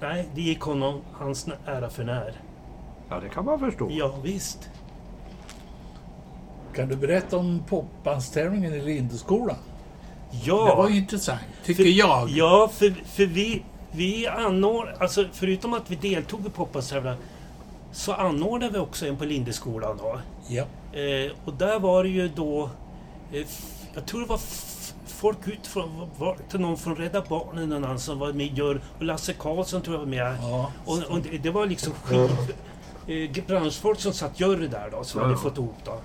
S4: nej, det gick honom hans nä- ära för när.
S3: Ja, det kan man förstå.
S4: Ja, visst.
S2: Kan du berätta om popbandstävlingen i Lindeskolan?
S4: Ja.
S2: Det var ju intressant, tycker jag.
S4: Ja, för, för vi, vi anordnade, alltså förutom att vi deltog i poppastävlan så anordnade vi också en på Lindeskolan då.
S2: Ja.
S4: Eh, och där var det ju då, eh, f- jag tror det var f- folk utifrån, var det någon från Rädda Barnen eller någon annan som var med i juryn. och Lasse Karlsson tror jag var med.
S2: Ja.
S4: Och, och det, det var liksom skiv, eh, branschfolk som satt jury där då, som
S3: Ja,
S4: hade
S3: ja.
S4: fått ihop då.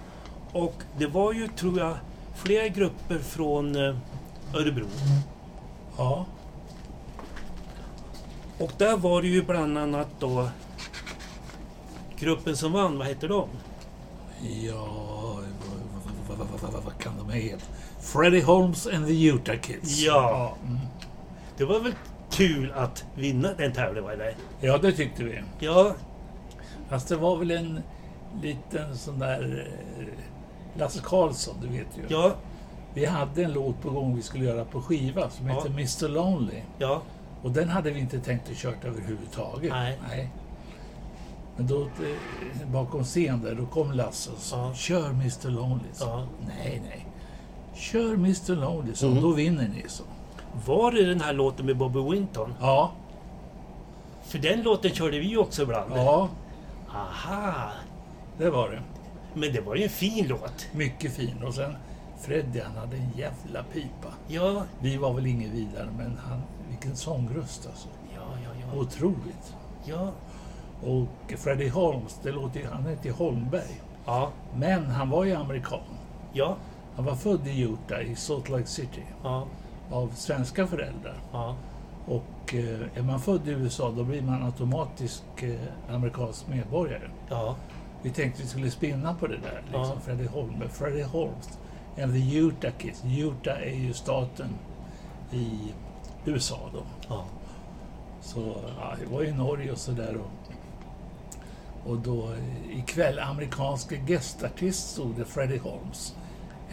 S4: Och det var ju, tror jag, flera grupper från eh, Örebro.
S2: ja.
S4: Och där var det ju bland annat då gruppen som vann, vad hette de?
S2: Ja, vad, vad, vad, vad, vad, vad kan de heta? Freddie Holmes and the Utah Kids.
S4: Ja. Mm. Det var väl kul att vinna den tävlingen, eller?
S2: Ja, det tyckte vi.
S4: Ja,
S2: Fast det var väl en liten sån där... eh, Lasse Karlsson, du vet ju.
S4: ja,
S2: Vi hade en låt på gång vi skulle göra på skiva som
S4: Ja.
S2: hette Mr Lonely.
S4: ja.
S2: Och den hade vi inte tänkt att kört överhuvudtaget.
S4: Nej.
S2: Men då, eh, bakom scen där, då kom Lasse och sa
S4: Ja.
S2: Kör Mr Lonely. sa han.
S4: Ja.
S2: Nej, nej. Kör Mr Lonely, så då vinner ni. Så.
S4: Var det den här låten med Bobby Winton?
S2: Ja,
S4: För den låten körde vi ju också ibland.
S2: ja,
S4: Aha!
S2: det var det.
S4: Men det var ju en fin låt.
S2: Mycket fin. Och sen Freddy, han hade en jävla pipa.
S4: Ja,
S2: Vi var väl inget vidare, men han, vilken sångröst alltså.
S4: ja, ja, ja.
S2: Otroligt.
S4: Ja,
S2: Och Freddie Holmes, det låter ju, han hette ju Holmberg.
S4: ja,
S2: Men han var ju amerikan.
S4: ja,
S2: Han var född i Utah, i Salt Lake City,
S4: ja,
S2: av svenska föräldrar.
S4: ja.
S2: Och eh, är man född i USA då blir man automatiskt eh, amerikansk medborgare.
S4: ja.
S2: Vi tänkte vi skulle spinna på det där, liksom
S4: Ja.
S2: Freddie Holm, Freddie Holmes and the Utah Kids. Utah är ju staten i USA då.
S4: ja.
S2: Så ja, jag var i Norge och sådär. Och, och då eh, ikväll, amerikanska gästartist stod det Freddie Holmes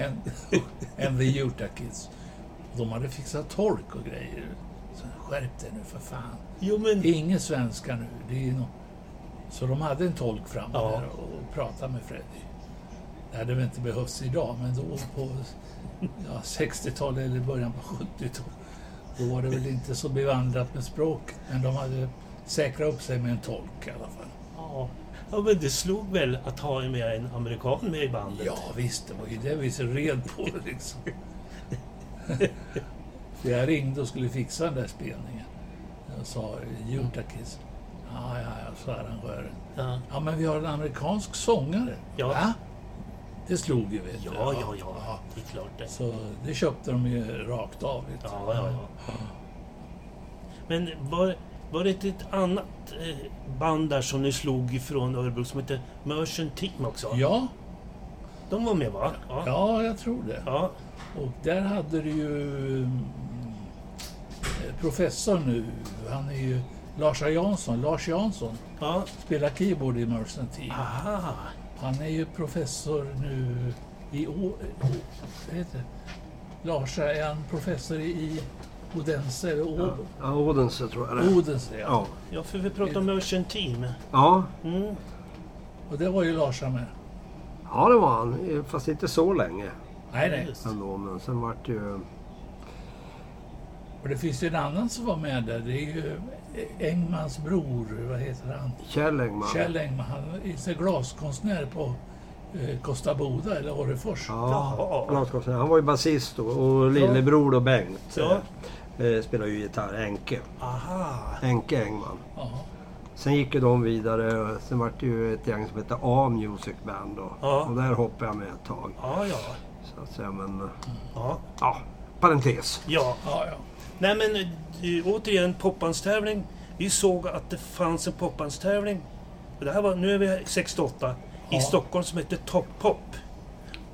S2: and, and the Utah Kids. De hade fixat tork och grejer. Så skärp dig nu för fan.
S4: Jo, men...
S2: Det är ingen svenska nu. Det är no... Så de hade en tolk fram
S4: Ja.
S2: där och pratade med Freddie. Det hade väl inte behövts idag, men då på ja, 60-talet eller början på 70-talet, då var det väl inte så bevandrat med språk. Men de hade säkrat upp sig med en tolk i alla fall.
S4: Ja. ja, men det slog väl att ha med en amerikan med i bandet?
S2: Ja, visst, det var ju det vi så red på liksom. För jag ringde och skulle fixa den där spelningen. Jag sa Utah Kids. Ja, ja, ja, sa arrangören.
S4: Mm. Ja,
S2: Ja, men vi har en amerikansk sångare.
S4: Ja.
S2: Va? Det slog ju, vet du.
S4: ja, ja. ja. Det är klart det.
S2: Så det köpte de ju rakt av. Vet du.
S4: Ja, ja, ja. Men var, Var det inte ett annat eh, band där som ni slog ifrån Örebro som hette Merchant Team också?
S2: Ja,
S4: De var med va? Ja.
S2: ja, jag tror det.
S4: ja.
S2: Och där hade du ju mm, eh, professor nu, han är ju Lars A. Jansson, Lars Jansson,
S4: ja.
S2: spelar keyboard i Merchant Team.
S4: Aha.
S2: Han är ju professor nu i... Å- Vad heter det? Lars är han professor i Odense eller Å-
S3: Ja, Odense tror jag det är.
S2: Odense. Ja.
S3: Ja.
S4: Ja, för vi pratade om Merchant Team.
S3: Ja.
S4: Mm.
S2: Och det var ju Lars med.
S3: ja, det var han. eh, Fast inte så länge
S2: Nej, nej.
S4: Just.
S3: ändå. Men sen vart det ju...
S2: Och det finns ju en annan som var med där. Det är ju Engmans bror, vad heter han?
S3: Kjell Engman.
S2: Kjell Engman. Han är glaskonstnär på eh, Kosta Boda eller Orrefors.
S3: Ja,
S4: Jaha.
S3: glaskonstnär. Han var ju basist då och lillebror då Bengt
S4: Ja.
S3: eh, spelar ju gitarr, Enke.
S4: Aha.
S3: Enke Engman.
S2: Ja.
S3: Sen gick ju de vidare. Sen var det ju ett gäng som hette A Music Band då.
S4: Ja.
S3: Och där hoppade jag med ett tag.
S4: Ja, ja.
S3: Så att säga, men... eh,
S4: Ja.
S3: Ja, parentes.
S4: ja.
S2: Ja, ja.
S4: Nej men eh, återigen popbandstävling. Vi såg att det fanns en popbandstävling. Och Det här var, nu är vi 68.
S2: Ja.
S4: I Stockholm som hette Top Pop.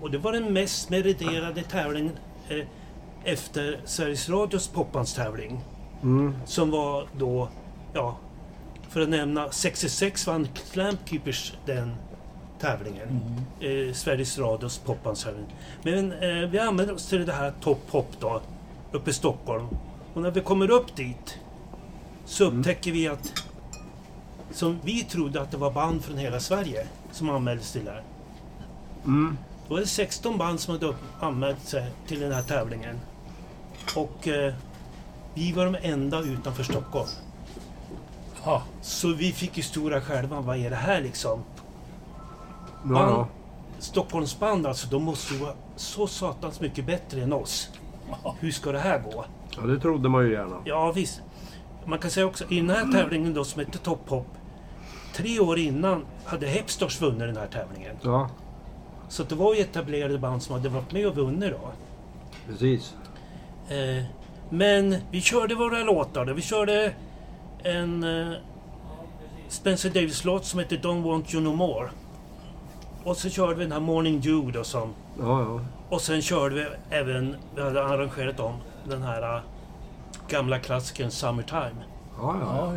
S4: Och det var den mest meriterade tävlingen eh, efter Sveriges Radios popbandstävling.
S3: Mm.
S4: Som var då, ja, för att nämna 66 vann Clamp Keepers den tävlingen. Eh, Sveriges Radios popbandstävling. Men eh, vi använder oss till det här Top Pop då, uppe i Stockholm. Och när vi kommer upp dit så upptäcker vi att, som vi trodde att det var band från hela Sverige som anmäldes till det här.
S3: Mm.
S4: Då var det 16 band som hade upp- anmält sig till den här tävlingen. Och eh, vi var de enda utanför Stockholm.
S2: ja.
S4: Så vi fick ju stora skälvan. Vad är det här liksom?
S3: Ja, ja.
S4: Stockholmsband alltså, de måste ju vara så satans mycket bättre än oss. Hur ska det här gå?
S3: ja, det trodde man ju gärna.
S4: Ja visst. Man kan säga också, i den här tävlingen då som hette Top Hop. Tre år innan hade Hepstars vunnit den här tävlingen.
S3: Ja,
S4: Så det var ju etablerade band som hade varit med och vunnit då.
S3: precis.
S4: Eh, men vi körde våra låtar. då. Vi körde en eh, Spencer Davis-låt som heter Don't Want You No More. Och så körde vi den här Morning Dew då som...
S3: Ja, ja.
S4: Och sen körde vi även, vi hade arrangerat om den här eh, gamla klassikern Summertime.
S3: Ja,
S2: ja,
S3: ja.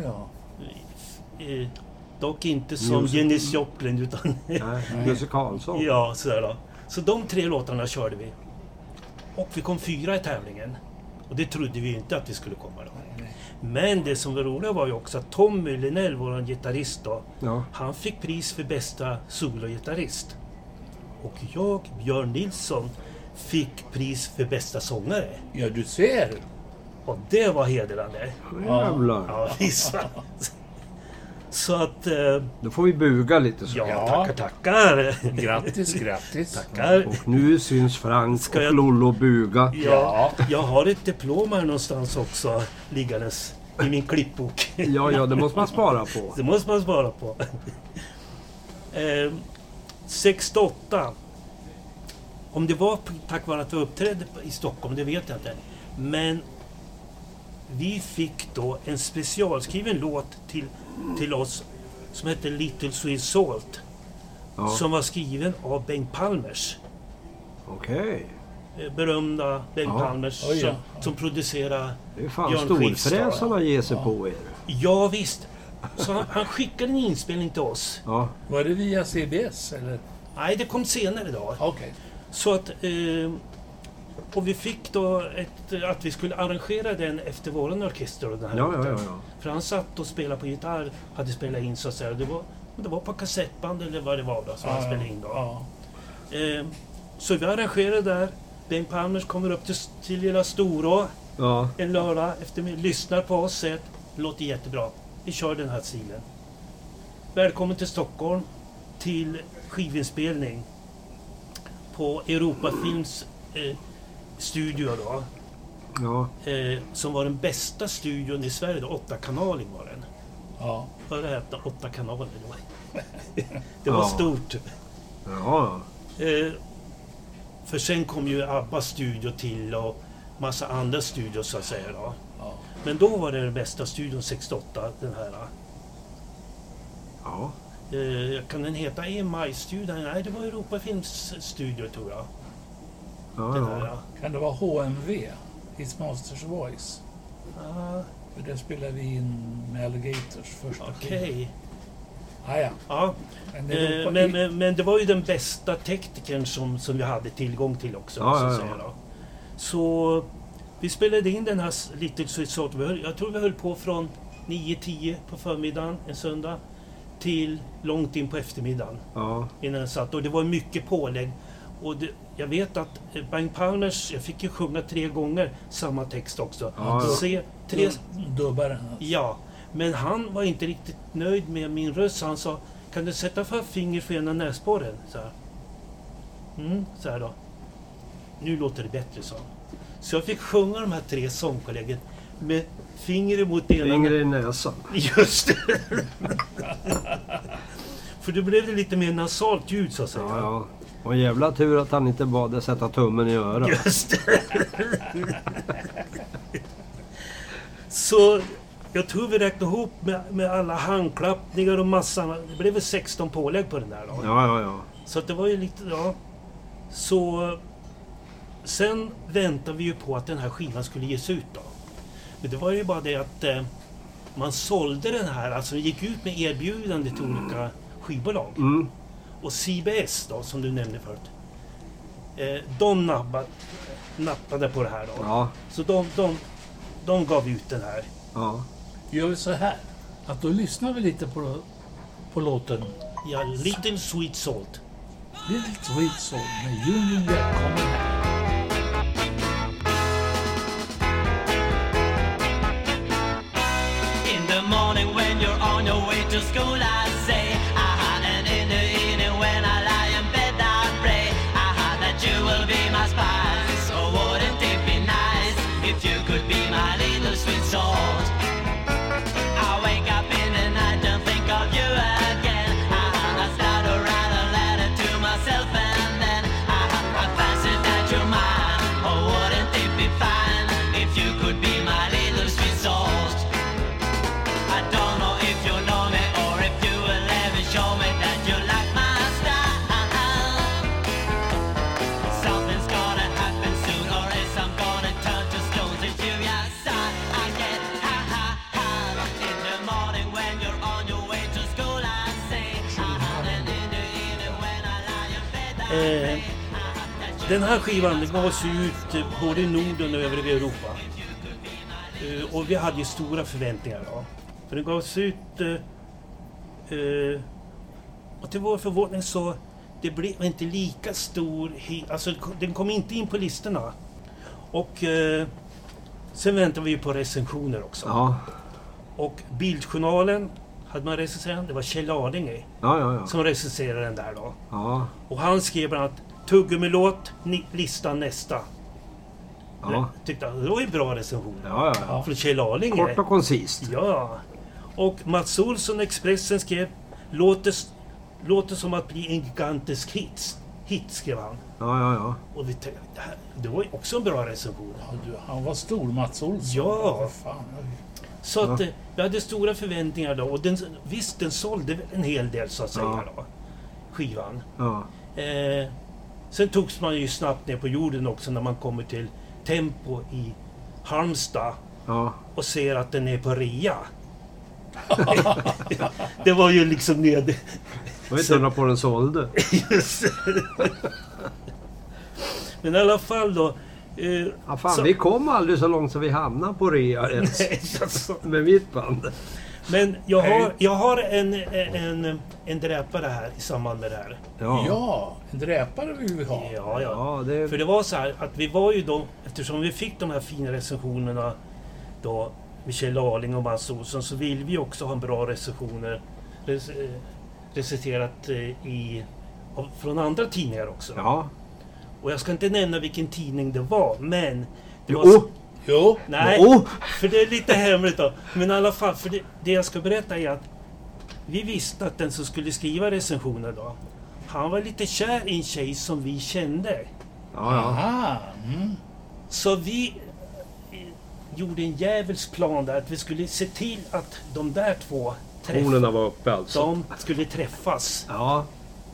S2: ja.
S4: Eh, dock inte som
S3: Music.
S4: Janis Joplin utan...
S3: Nej, musikalsång.
S4: ja, sådär då. Så de tre låtarna körde vi. Och vi kom fyra i tävlingen. Och det trodde vi ju inte att vi skulle komma då. Men det som var roligt var ju också att Tommy Linnell, vår gitarrist då,
S3: Ja.
S4: han fick pris för bästa sologitarrist. Och jag, Björn Nilsson, fick pris för bästa sångare.
S2: Ja, du ser.
S4: Och det var hedrande.
S3: Jävlar.
S4: Ja, visst. va? Så att, eh,
S3: Då får vi buga lite så.
S4: ja,
S2: Ja.
S4: tackar, tackar.
S2: Grattis, grattis.
S4: Tackar.
S3: Och nu syns Frank
S4: Ska
S3: och
S4: jag-
S3: Lollo buga.
S4: Ja, jag har ett diplom här någonstans också liggandes i min klippbok.
S3: Ja, ja, det måste man spara på.
S4: Det måste man svara på. eh, 68. Om det var p- tack vare att vi uppträdde p- i Stockholm, det vet jag inte. Men vi fick då en specialskriven låt till, till oss som hette Little Sweet Salt.
S3: Ja.
S4: Som var skriven av Bengt Palmers.
S3: Okej.
S4: eh, Berömda Bengt
S3: Ja.
S4: Palmers
S2: Oj, ja.
S4: som, som producerade
S3: Det är fan
S4: Björn Skifs då, ja.
S3: storfräsarna ger sig på er.
S4: Ja visst. Så han, han skickade en inspelning till oss.
S3: Ja.
S2: Var det via CBS eller?
S4: Nej, det kom senare då.
S2: Okej.
S4: Så att... Eh, och vi fick då ett, att vi skulle arrangera den efter våran orkester. och Den här
S3: Ja, ja,
S4: låten.
S3: ja, ja.
S4: För han satt och spelade på gitarr, hade spelat in så att säga. Det var, det var på kassettband eller vad det var då som han spelade in då.
S2: Ja.
S4: Eh, så vi arrangerade där. Bengt Palmers kommer upp till, till lilla Storå
S3: Ja.
S4: en lördag eftermiddag, lyssnar på oss, säger att det låter jättebra. Vi kör den här stilen. Välkommen till Stockholm till skivinspelning på Europafilms eh, studio då.
S3: ja.
S4: Eh, som var den bästa studion i Sverige då, åtta kanaler var den.
S2: ja.
S4: Hör och häpna, åtta kanaler. Det var, det var
S3: Ja.
S4: stort.
S3: ja.
S4: Eh, för sen kom ju Abbas studio till och massa andra studios så att säga. Då.
S2: Ja.
S4: Men då var det den bästa studion 68, den här.
S3: Ja.
S4: Eh, kan den heta EMI-studion? Nej, det var Europa Films studio tror jag.
S3: ja,
S4: Den
S3: ja.
S4: här.
S2: Kan det vara HMV? His Masters Voice?
S4: Ah,
S2: För det spelade vi in med Alligators första skiva.
S4: Okej.
S2: Ah, ja.
S4: Ja,
S2: Men
S4: eh,
S2: Europa,
S4: men, men, men det var ju den bästa teknikern som, som vi hade tillgång till också.
S3: Ja,
S4: måste jag
S3: ja,
S4: säga
S3: ja.
S4: då. Så vi spelade in den här s- Little Sweet Sort. Vi höll- Jag tror vi höll på från 9-10 på förmiddagen en söndag till långt in på eftermiddagen.
S3: ja.
S4: innan jag satt. Och det var mycket pålägg. Och det, jag vet att eh, Bang Palmers, jag fick ju sjunga tre gånger samma text också.
S3: Ja, ja.
S4: Se, tre,
S2: tre... Dubbaren.
S4: ja. Men han var inte riktigt nöjd med min röst. så Han sa, kan du sätta för finger för ena näsborren? Så här. Mm, så här då. Nu låter det bättre, sa han. Så jag fick sjunga de här tre sångkollegorna med fingret mot ena
S3: Fingrar i näsan.
S4: Just det! För då blev det lite mer nasalt ljud så att säga.
S3: Ja, ja. Och jävla tur att han inte bad dig sätta tummen i örat.
S4: Just det! Så jag tror vi räknade ihop med, med alla handklappningar och massan. Det blev väl 16 pålägg på den där då.
S3: Ja, ja, ja.
S4: Så att det var ju lite, ja. Så sen väntade vi ju på att den här skivan skulle ges ut då. Men det var ju bara det att eh, man sålde den här, alltså den gick ut med erbjudande till olika skivbolag.
S3: Mm.
S4: Och CBS då, som du nämnde förut. Eh, de nappade, nappade på det här då.
S3: Ja,
S4: Så de, de, de gav ut den här.
S3: ja.
S2: Gör vi så här, att då lyssnar vi lite på, på låten
S4: Ja, Little Sweet Salt.
S2: Little Sweet Soul med Union Jack kommer här.
S1: In the morning when you're on your way to school, I say, aha, and in the evening when I lie in bed, I pray, aha, that you will be my spice. Oh, wouldn't it be nice if you could be my little sweet salt? I wake up in the night and think of you again. Aha, I start to write a letter to myself and then aha, I fancy that you're mine. Oh, wouldn't it be fine if you could be my little sweet salt? I don't know if you know me or if you will ever show me that you like my style. Something's gonna happen soon, or else I'm gonna turn to stones if you outside. I get high, high, high. In the morning when you're on your way to school, I say, ah, and in the evening when I lie in bed, I
S4: Eh,
S1: say, ah, that you
S4: Den här skivan den gavs ju ut eh, både i Norden och övriga Europa. Eh, och vi hade ju stora förväntningar då. För den gavs ut... Eh, eh, och till vår förvåning så... Det blev inte lika stor... hi- Alltså den kom inte in på listorna. Och... Eh, sen väntade vi ju på recensioner också.
S3: Ja,
S4: Och Bildjournalen hade man recenserat. Det var Kjell Arlinge
S3: ja, ja. ja.
S4: som recenserade den där då.
S3: ja.
S4: Och han skrev bland annat Tuggummilåt, ni- listan nästa.
S3: ja.
S4: Tyckte han, det var ju bra recensioner.
S3: Ja, ja, ja.
S4: Från Kjell Arlinge.
S3: Kort och koncist.
S4: Ja. Och Mats Olsson, Expressen, skrev låter, s- låter som att bli en gigantisk hit. Hit, skrev han.
S3: Ja, ja, ja.
S4: Och vi tänkte, det, här, det var ju också en bra recension.
S2: Ja, du, han var stor, Mats Olsson.
S4: Ja.
S2: För fan.
S4: Så att eh, vi hade stora förväntningar då. Och den, visst, den sålde väl en hel del så att säga
S3: Ja.
S4: då. Skivan.
S3: Ja,
S4: Eh, sen togs man ju snabbt ner på jorden också när man kommer till Tempo i Halmstad
S3: ja.
S4: och ser att den är på rea. det var ju liksom ned...
S3: Det var inte undra på den sålde.
S4: Just det. Men i alla fall då. Eh,
S3: Ja, fan,
S4: så-
S3: vi kom aldrig så långt som vi hamnade på rea ens.
S4: Nej, alltså.
S3: Med mitt band.
S4: Men jag har, jag har en, en, en dräpare här i samband med det här.
S2: Ja.
S3: Ja, ja.
S2: ja, en dräpare vill vi ha.
S4: Ja, ja. För
S3: det...
S4: det var så här att vi var ju då, eftersom vi fick de här fina recensionerna då med Kjell Arling och Mats Olsson så vill vi också ha en bra recensioner rec, eh, reciterat eh, i, av, från andra tidningar också.
S3: Ja.
S4: Och jag ska inte nämna vilken tidning det var, men... Det var,
S3: Jo! oh,
S2: Jo,
S4: Nej,
S3: Jo!
S4: för det är lite hemligt då. Men i alla fall, för det, det jag ska berätta är att vi visste att den som skulle skriva recensioner då, han var lite kär i en tjej som vi kände.
S3: Ja, ja.
S2: ah, mm.
S4: Så vi... gjorde en djävulsk plan där att vi skulle se till att de där två träff,
S3: Hornen var uppe alltså.
S4: de skulle träffas
S3: Ja,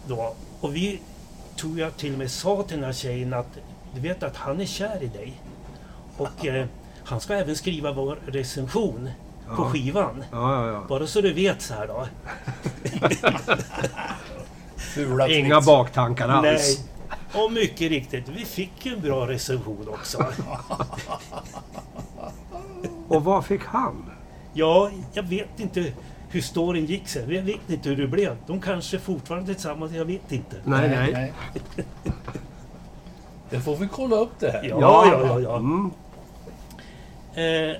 S4: då. Och vi tror jag till och med sa till den här tjejen att du vet att han är kär i dig. Och eh, han ska även skriva vår recension på
S3: Ja.
S4: skivan.
S3: ja, ja.
S4: Bara så du vet så här då.
S2: Fula
S3: ja. Inga
S2: tricks.
S3: baktankar alls.
S4: Nej. Och mycket riktigt, vi fick ju en bra recension också.
S3: Och vad fick han?
S4: Ja, jag vet inte hur storyn gick sen. Jag vet inte hur det blev. De kanske fortfarande är tillsammans, jag vet inte.
S3: Nej, nej.
S2: nej. Det får vi kolla upp det här.
S4: Ja, ja, ja. ja.
S3: Mm.
S4: Eh,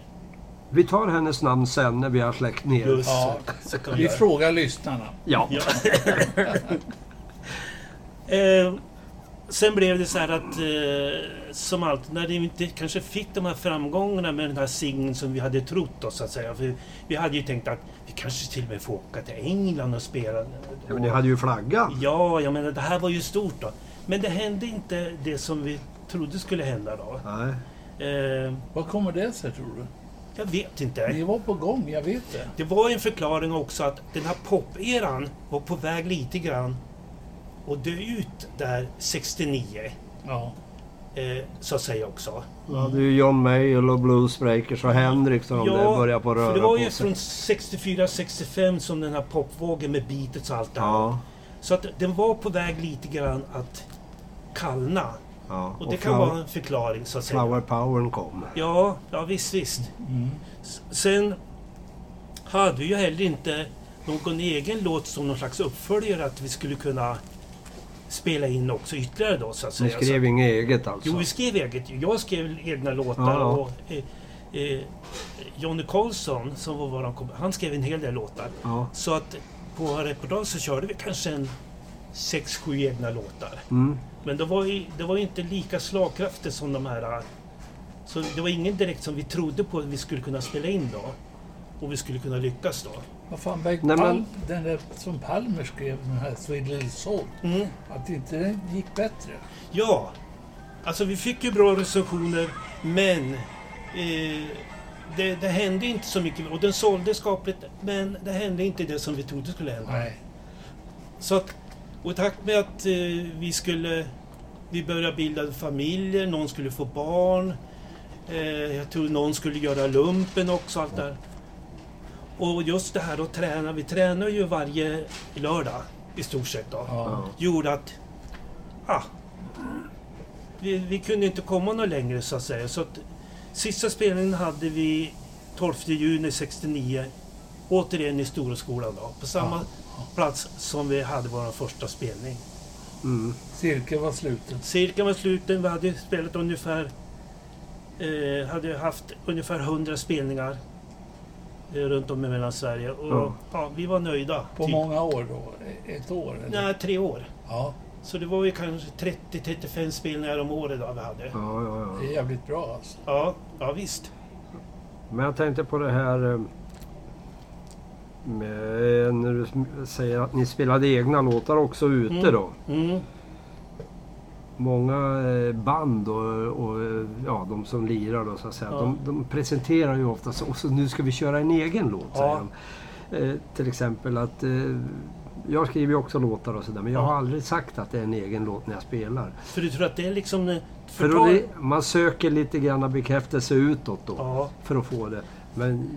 S3: Vi tar hennes namn sen när vi har släckt ner.
S4: just
S2: Ja,
S4: så kan vi
S2: Vi
S4: göra.
S2: frågar lyssnarna.
S3: Ja.
S4: Ja. eh, sen blev det så här att eh, som allt, när vi inte kanske fick de här framgångarna med den här singeln som vi hade trott oss så att säga. För vi hade ju tänkt att vi kanske till och med får åka till England och spela.
S3: Ja, men ni hade ju flaggan.
S4: Ja, jag menar det här var ju stort då. Men det hände inte det som vi trodde skulle hända då.
S3: Nej.
S4: Eh,
S2: Vad kommer det sig tror du?
S4: jag vet
S2: Ni
S4: inte.
S2: var på gång, jag vet det.
S4: Det var en förklaring också att den här pop-eran var på väg lite grann och dö ut där 69.
S2: Ja.
S4: Eh, så att säga också.
S3: Då hade ju John Mayall och Blues Breakers och Henriksson det började på att röra
S4: för det var ju
S3: på sig.
S4: från 64-65 som den här popvågen med beatet och allt det här.
S3: Ja,
S4: Så att den var på väg lite grann att kallna.
S3: ja.
S4: Och det kan
S3: Flower-
S4: vara en förklaring så att säga.
S3: Flower Powern kom.
S4: Ja, ja visst, visst. S- Sen hade vi ju heller inte någon egen låt som någon slags uppföljare att vi skulle kunna spela in också ytterligare då så att
S3: Ni
S4: säga.
S3: skrev inget eget alltså?
S4: Jo, vi skrev eget. Jag skrev egna låtar
S3: Ja, ja.
S4: och eh, eh, Jonny Karlsson som var våran kom- han skrev en hel del låtar.
S3: Ja.
S4: Så att på reportage så körde vi kanske en sex, sju egna låtar.
S3: Mm.
S4: Men det var, ju, det var ju inte lika slagkraftigt som de här. Så det var ingen direkt som vi trodde på att vi skulle kunna spela in då. Och vi skulle kunna lyckas då.
S2: Vad fan, Bengt
S3: Nej, men-
S2: Palm, den där som Palmer skrev, den här Sweet Little Soul,
S4: Mm.
S2: att inte den gick bättre.
S4: Ja, alltså vi fick ju bra recensioner men eh, det, det hände inte så mycket. Och den sålde skapligt men det hände inte det som vi trodde skulle hända.
S2: Nej.
S4: Så att, och i takt med att eh, vi skulle vi började bilda familjer, någon skulle få barn. Eh, jag tror någon skulle göra lumpen också, allt där. Och just det här att träna, vi tränar ju varje lördag i stort sett då.
S2: Ja.
S3: Ja.
S4: Gjorde att, ah, vi, vi kunde inte komma något längre så att säga. Så att, sista spelningen hade vi 12 juni 69. Återigen i Storeskolan då, på samma plats som vi hade vår första spelning.
S3: Mm.
S2: Cirkeln var sluten.
S4: Cirkeln var sluten. Vi hade spelat ungefär... Eh, hade haft ungefär 100 spelningar eh, runt om i Mellansverige. Och,
S3: Ja.
S4: ja. vi var nöjda.
S2: På många år då? Ett år? Eller?
S4: Typ. Nej, tre år.
S2: Ja,
S4: Så det var ju kanske 30-35 spelningar om året då vi hade. Ja,
S3: Ja, ja,
S2: det
S3: ja.
S2: är jävligt bra alltså.
S4: ja, visst.
S3: Men jag tänkte på det här eh, med, när du sm- säger att ni spelade egna låtar också ute
S4: Mm.
S3: då.
S4: Mm.
S3: Många eh, band och, och eh, ja, de som lirar då, så att säga,
S4: Ja.
S3: de, de presenterar ju ofta så, och så nu ska vi köra en egen låt.
S4: Ja.
S3: Säger de. Eh, till exempel att eh, jag skriver ju också låtar och sådär men jag
S4: Ja.
S3: har aldrig sagt att det är en egen låt när jag spelar.
S4: För du tror att det är liksom... eh,
S3: För då,
S4: förtal-
S3: det- man söker lite grann bekräftelse utåt då
S4: Ja.
S3: för att få det. Men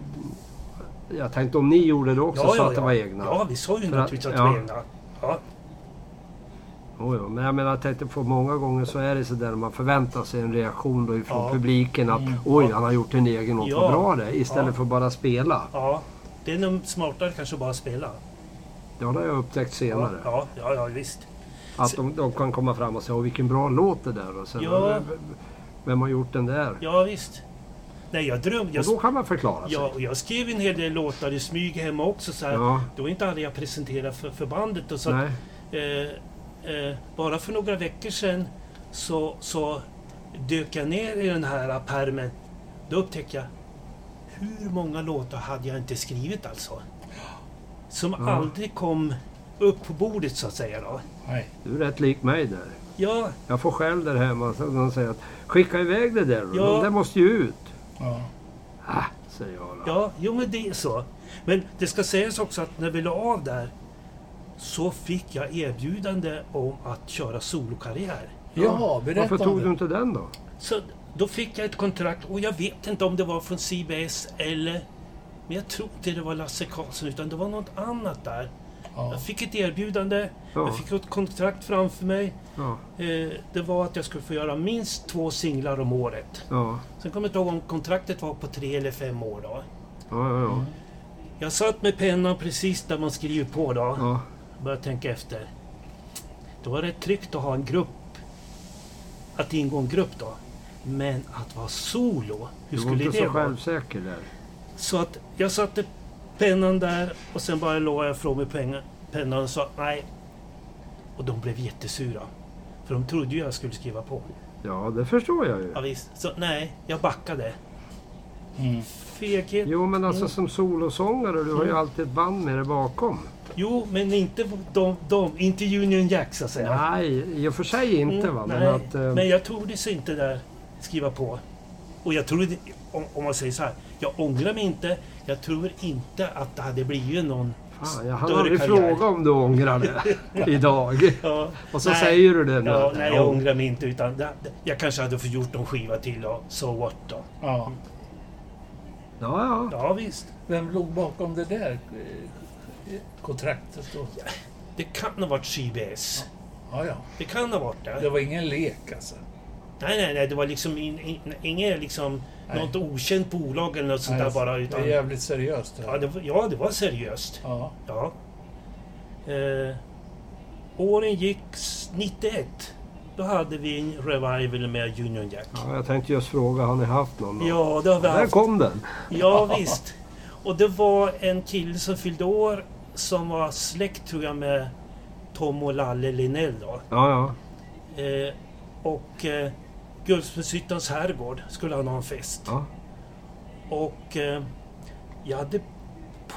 S3: jag tänkte om ni gjorde det också så att det var egna.
S4: Ja, vi sa ju
S3: För att-
S4: naturligtvis att det
S3: ja.
S4: var egna. Ja.
S3: Jo, jo, men jag menar, jag tänkte på många gånger så är det så där man förväntar sig en reaktion då ifrån
S4: Ja. Mm.
S3: publiken att oj, han har gjort en egen låt, vad
S4: Ja.
S3: bra det är", Istället
S4: Ja.
S3: för att bara spela.
S4: ja. Det är nog smartare kanske att bara spela.
S3: Det har jag upptäckt
S4: Ja,
S3: senare.
S4: ja, ja, ja visst.
S3: Att de, de kan komma fram och säga åh, vilken bra låt det där och sen,
S4: Ja.
S3: Vem har gjort den där?
S4: Ja, visst. Nej, jag drömde... Jag,
S3: Och då kan man förklara sig.
S4: jag, jag skrev en hel del låtar i smyg hemma också. Så här.
S3: Ja.
S4: Det var inte alla jag presenterade för, för bandet. Och så att,
S3: Nej.
S4: eh, eh, bara för några veckor sedan så, så dök jag ner i den här pärmen. Då upptäckte jag hur många låtar hade jag inte skrivit alltså? Som
S3: Ja.
S4: aldrig kom upp på bordet så att säga. Då.
S2: Nej.
S3: Du är rätt lik mig där.
S4: Ja,
S3: Jag får skäll där hemma. Så de säger att skicka iväg det där.
S4: Ja.
S3: Det måste ju ut.
S2: Ja.
S3: Ah, säger jag då.
S4: Ja, jo men det är så. Men det ska sägas också att när vi la av där så fick jag erbjudande om att köra solokarriär.
S2: Jaha, berätta
S3: Varför
S2: om
S3: tog
S2: det.
S3: du inte den då?
S4: Så då fick jag ett kontrakt och jag vet inte om det var från CBS eller... Men jag tror inte det var Lasse Karlsson utan det var något annat där.
S2: Ja.
S4: Jag fick ett erbjudande,
S3: Ja.
S4: jag fick ett kontrakt framför mig.
S3: Ja,
S4: Eh, det var att jag skulle få göra minst två singlar om året.
S3: ja,
S4: Sen kommer jag inte ihåg om kontraktet var på tre eller fem år då.
S3: ja, ja.
S4: Mm.
S3: ja.
S4: Jag satt med pennan precis där man skriver på då.
S3: ja.
S4: Började tänka efter. Då var det tryggt att ha en grupp. Att ingå i en grupp då. Men att vara solo, hur
S3: Du var
S4: skulle
S3: inte
S4: det
S3: så
S4: vara?
S3: självsäker där.
S4: Så att jag satte pennan där och sen bara la jag ifrån mig pengar, pennan och sa nej. Och de blev jättesura. För de trodde ju jag skulle skriva på.
S3: Ja, det förstår jag ju.
S4: Ja, visst. Så nej, jag backade.
S2: Mm.
S4: Feghet. Jo.
S3: Jo, men alltså som solosångare, du har
S4: Mm.
S3: ju alltid ett band med dig bakom.
S4: men inte de, de, inte Union Jack så att säga.
S3: Nej, i och för sig inte
S4: Mm,
S3: va.
S4: nej,
S3: Men att... eh,
S4: men jag tordes inte där skriva på. Och jag tror, om, om man säger så här, jag ångrar mig inte. Jag tror inte att det hade blivit någon...
S3: Fan, jag hann
S4: större
S3: aldrig
S4: karriär.
S3: fråga om du ångrar det idag.
S4: Ja,
S3: Och så
S4: nej.
S3: säger du det nu.
S4: Ja, nej, jag ångrar mig inte. Utan det, det- jag kanske hade fått gjort någon skiva till och so what då.
S2: Ja.
S3: ja, ja.
S4: Ja, visst.
S2: Vem låg bakom det där eh, kontraktet? Då?
S4: Det kan ha varit CBS.
S2: Ja, ja.
S4: Det kan ha varit det.
S2: Det var ingen lek alltså.
S4: Nej, nej, nej. Det var liksom in, in, inget liksom...
S2: Nej.
S4: Något okänt bolag eller något sånt
S2: Nej,
S4: där bara.
S2: Det är
S4: Utan, ja,
S2: jävligt seriöst. Det här.
S4: det, var- ja, det var seriöst.
S2: Ja.
S4: Ja. Eh, åren gick s- 91. Då hade vi en revival med Union Jack.
S3: ja, jag tänkte just fråga, har ni haft någon? då?
S4: Ja, det har vi
S3: Där
S4: haft.
S3: kom den.
S4: Ja, visst. Och det var en kille som fyllde år som var släkt tror jag med Tom och Lalle Linnell då.
S3: Ja, ja.
S4: Eh, och eh, Guldsmedshyttans herrgård skulle han ha en fest.
S3: ja.
S4: Och eh, jag hade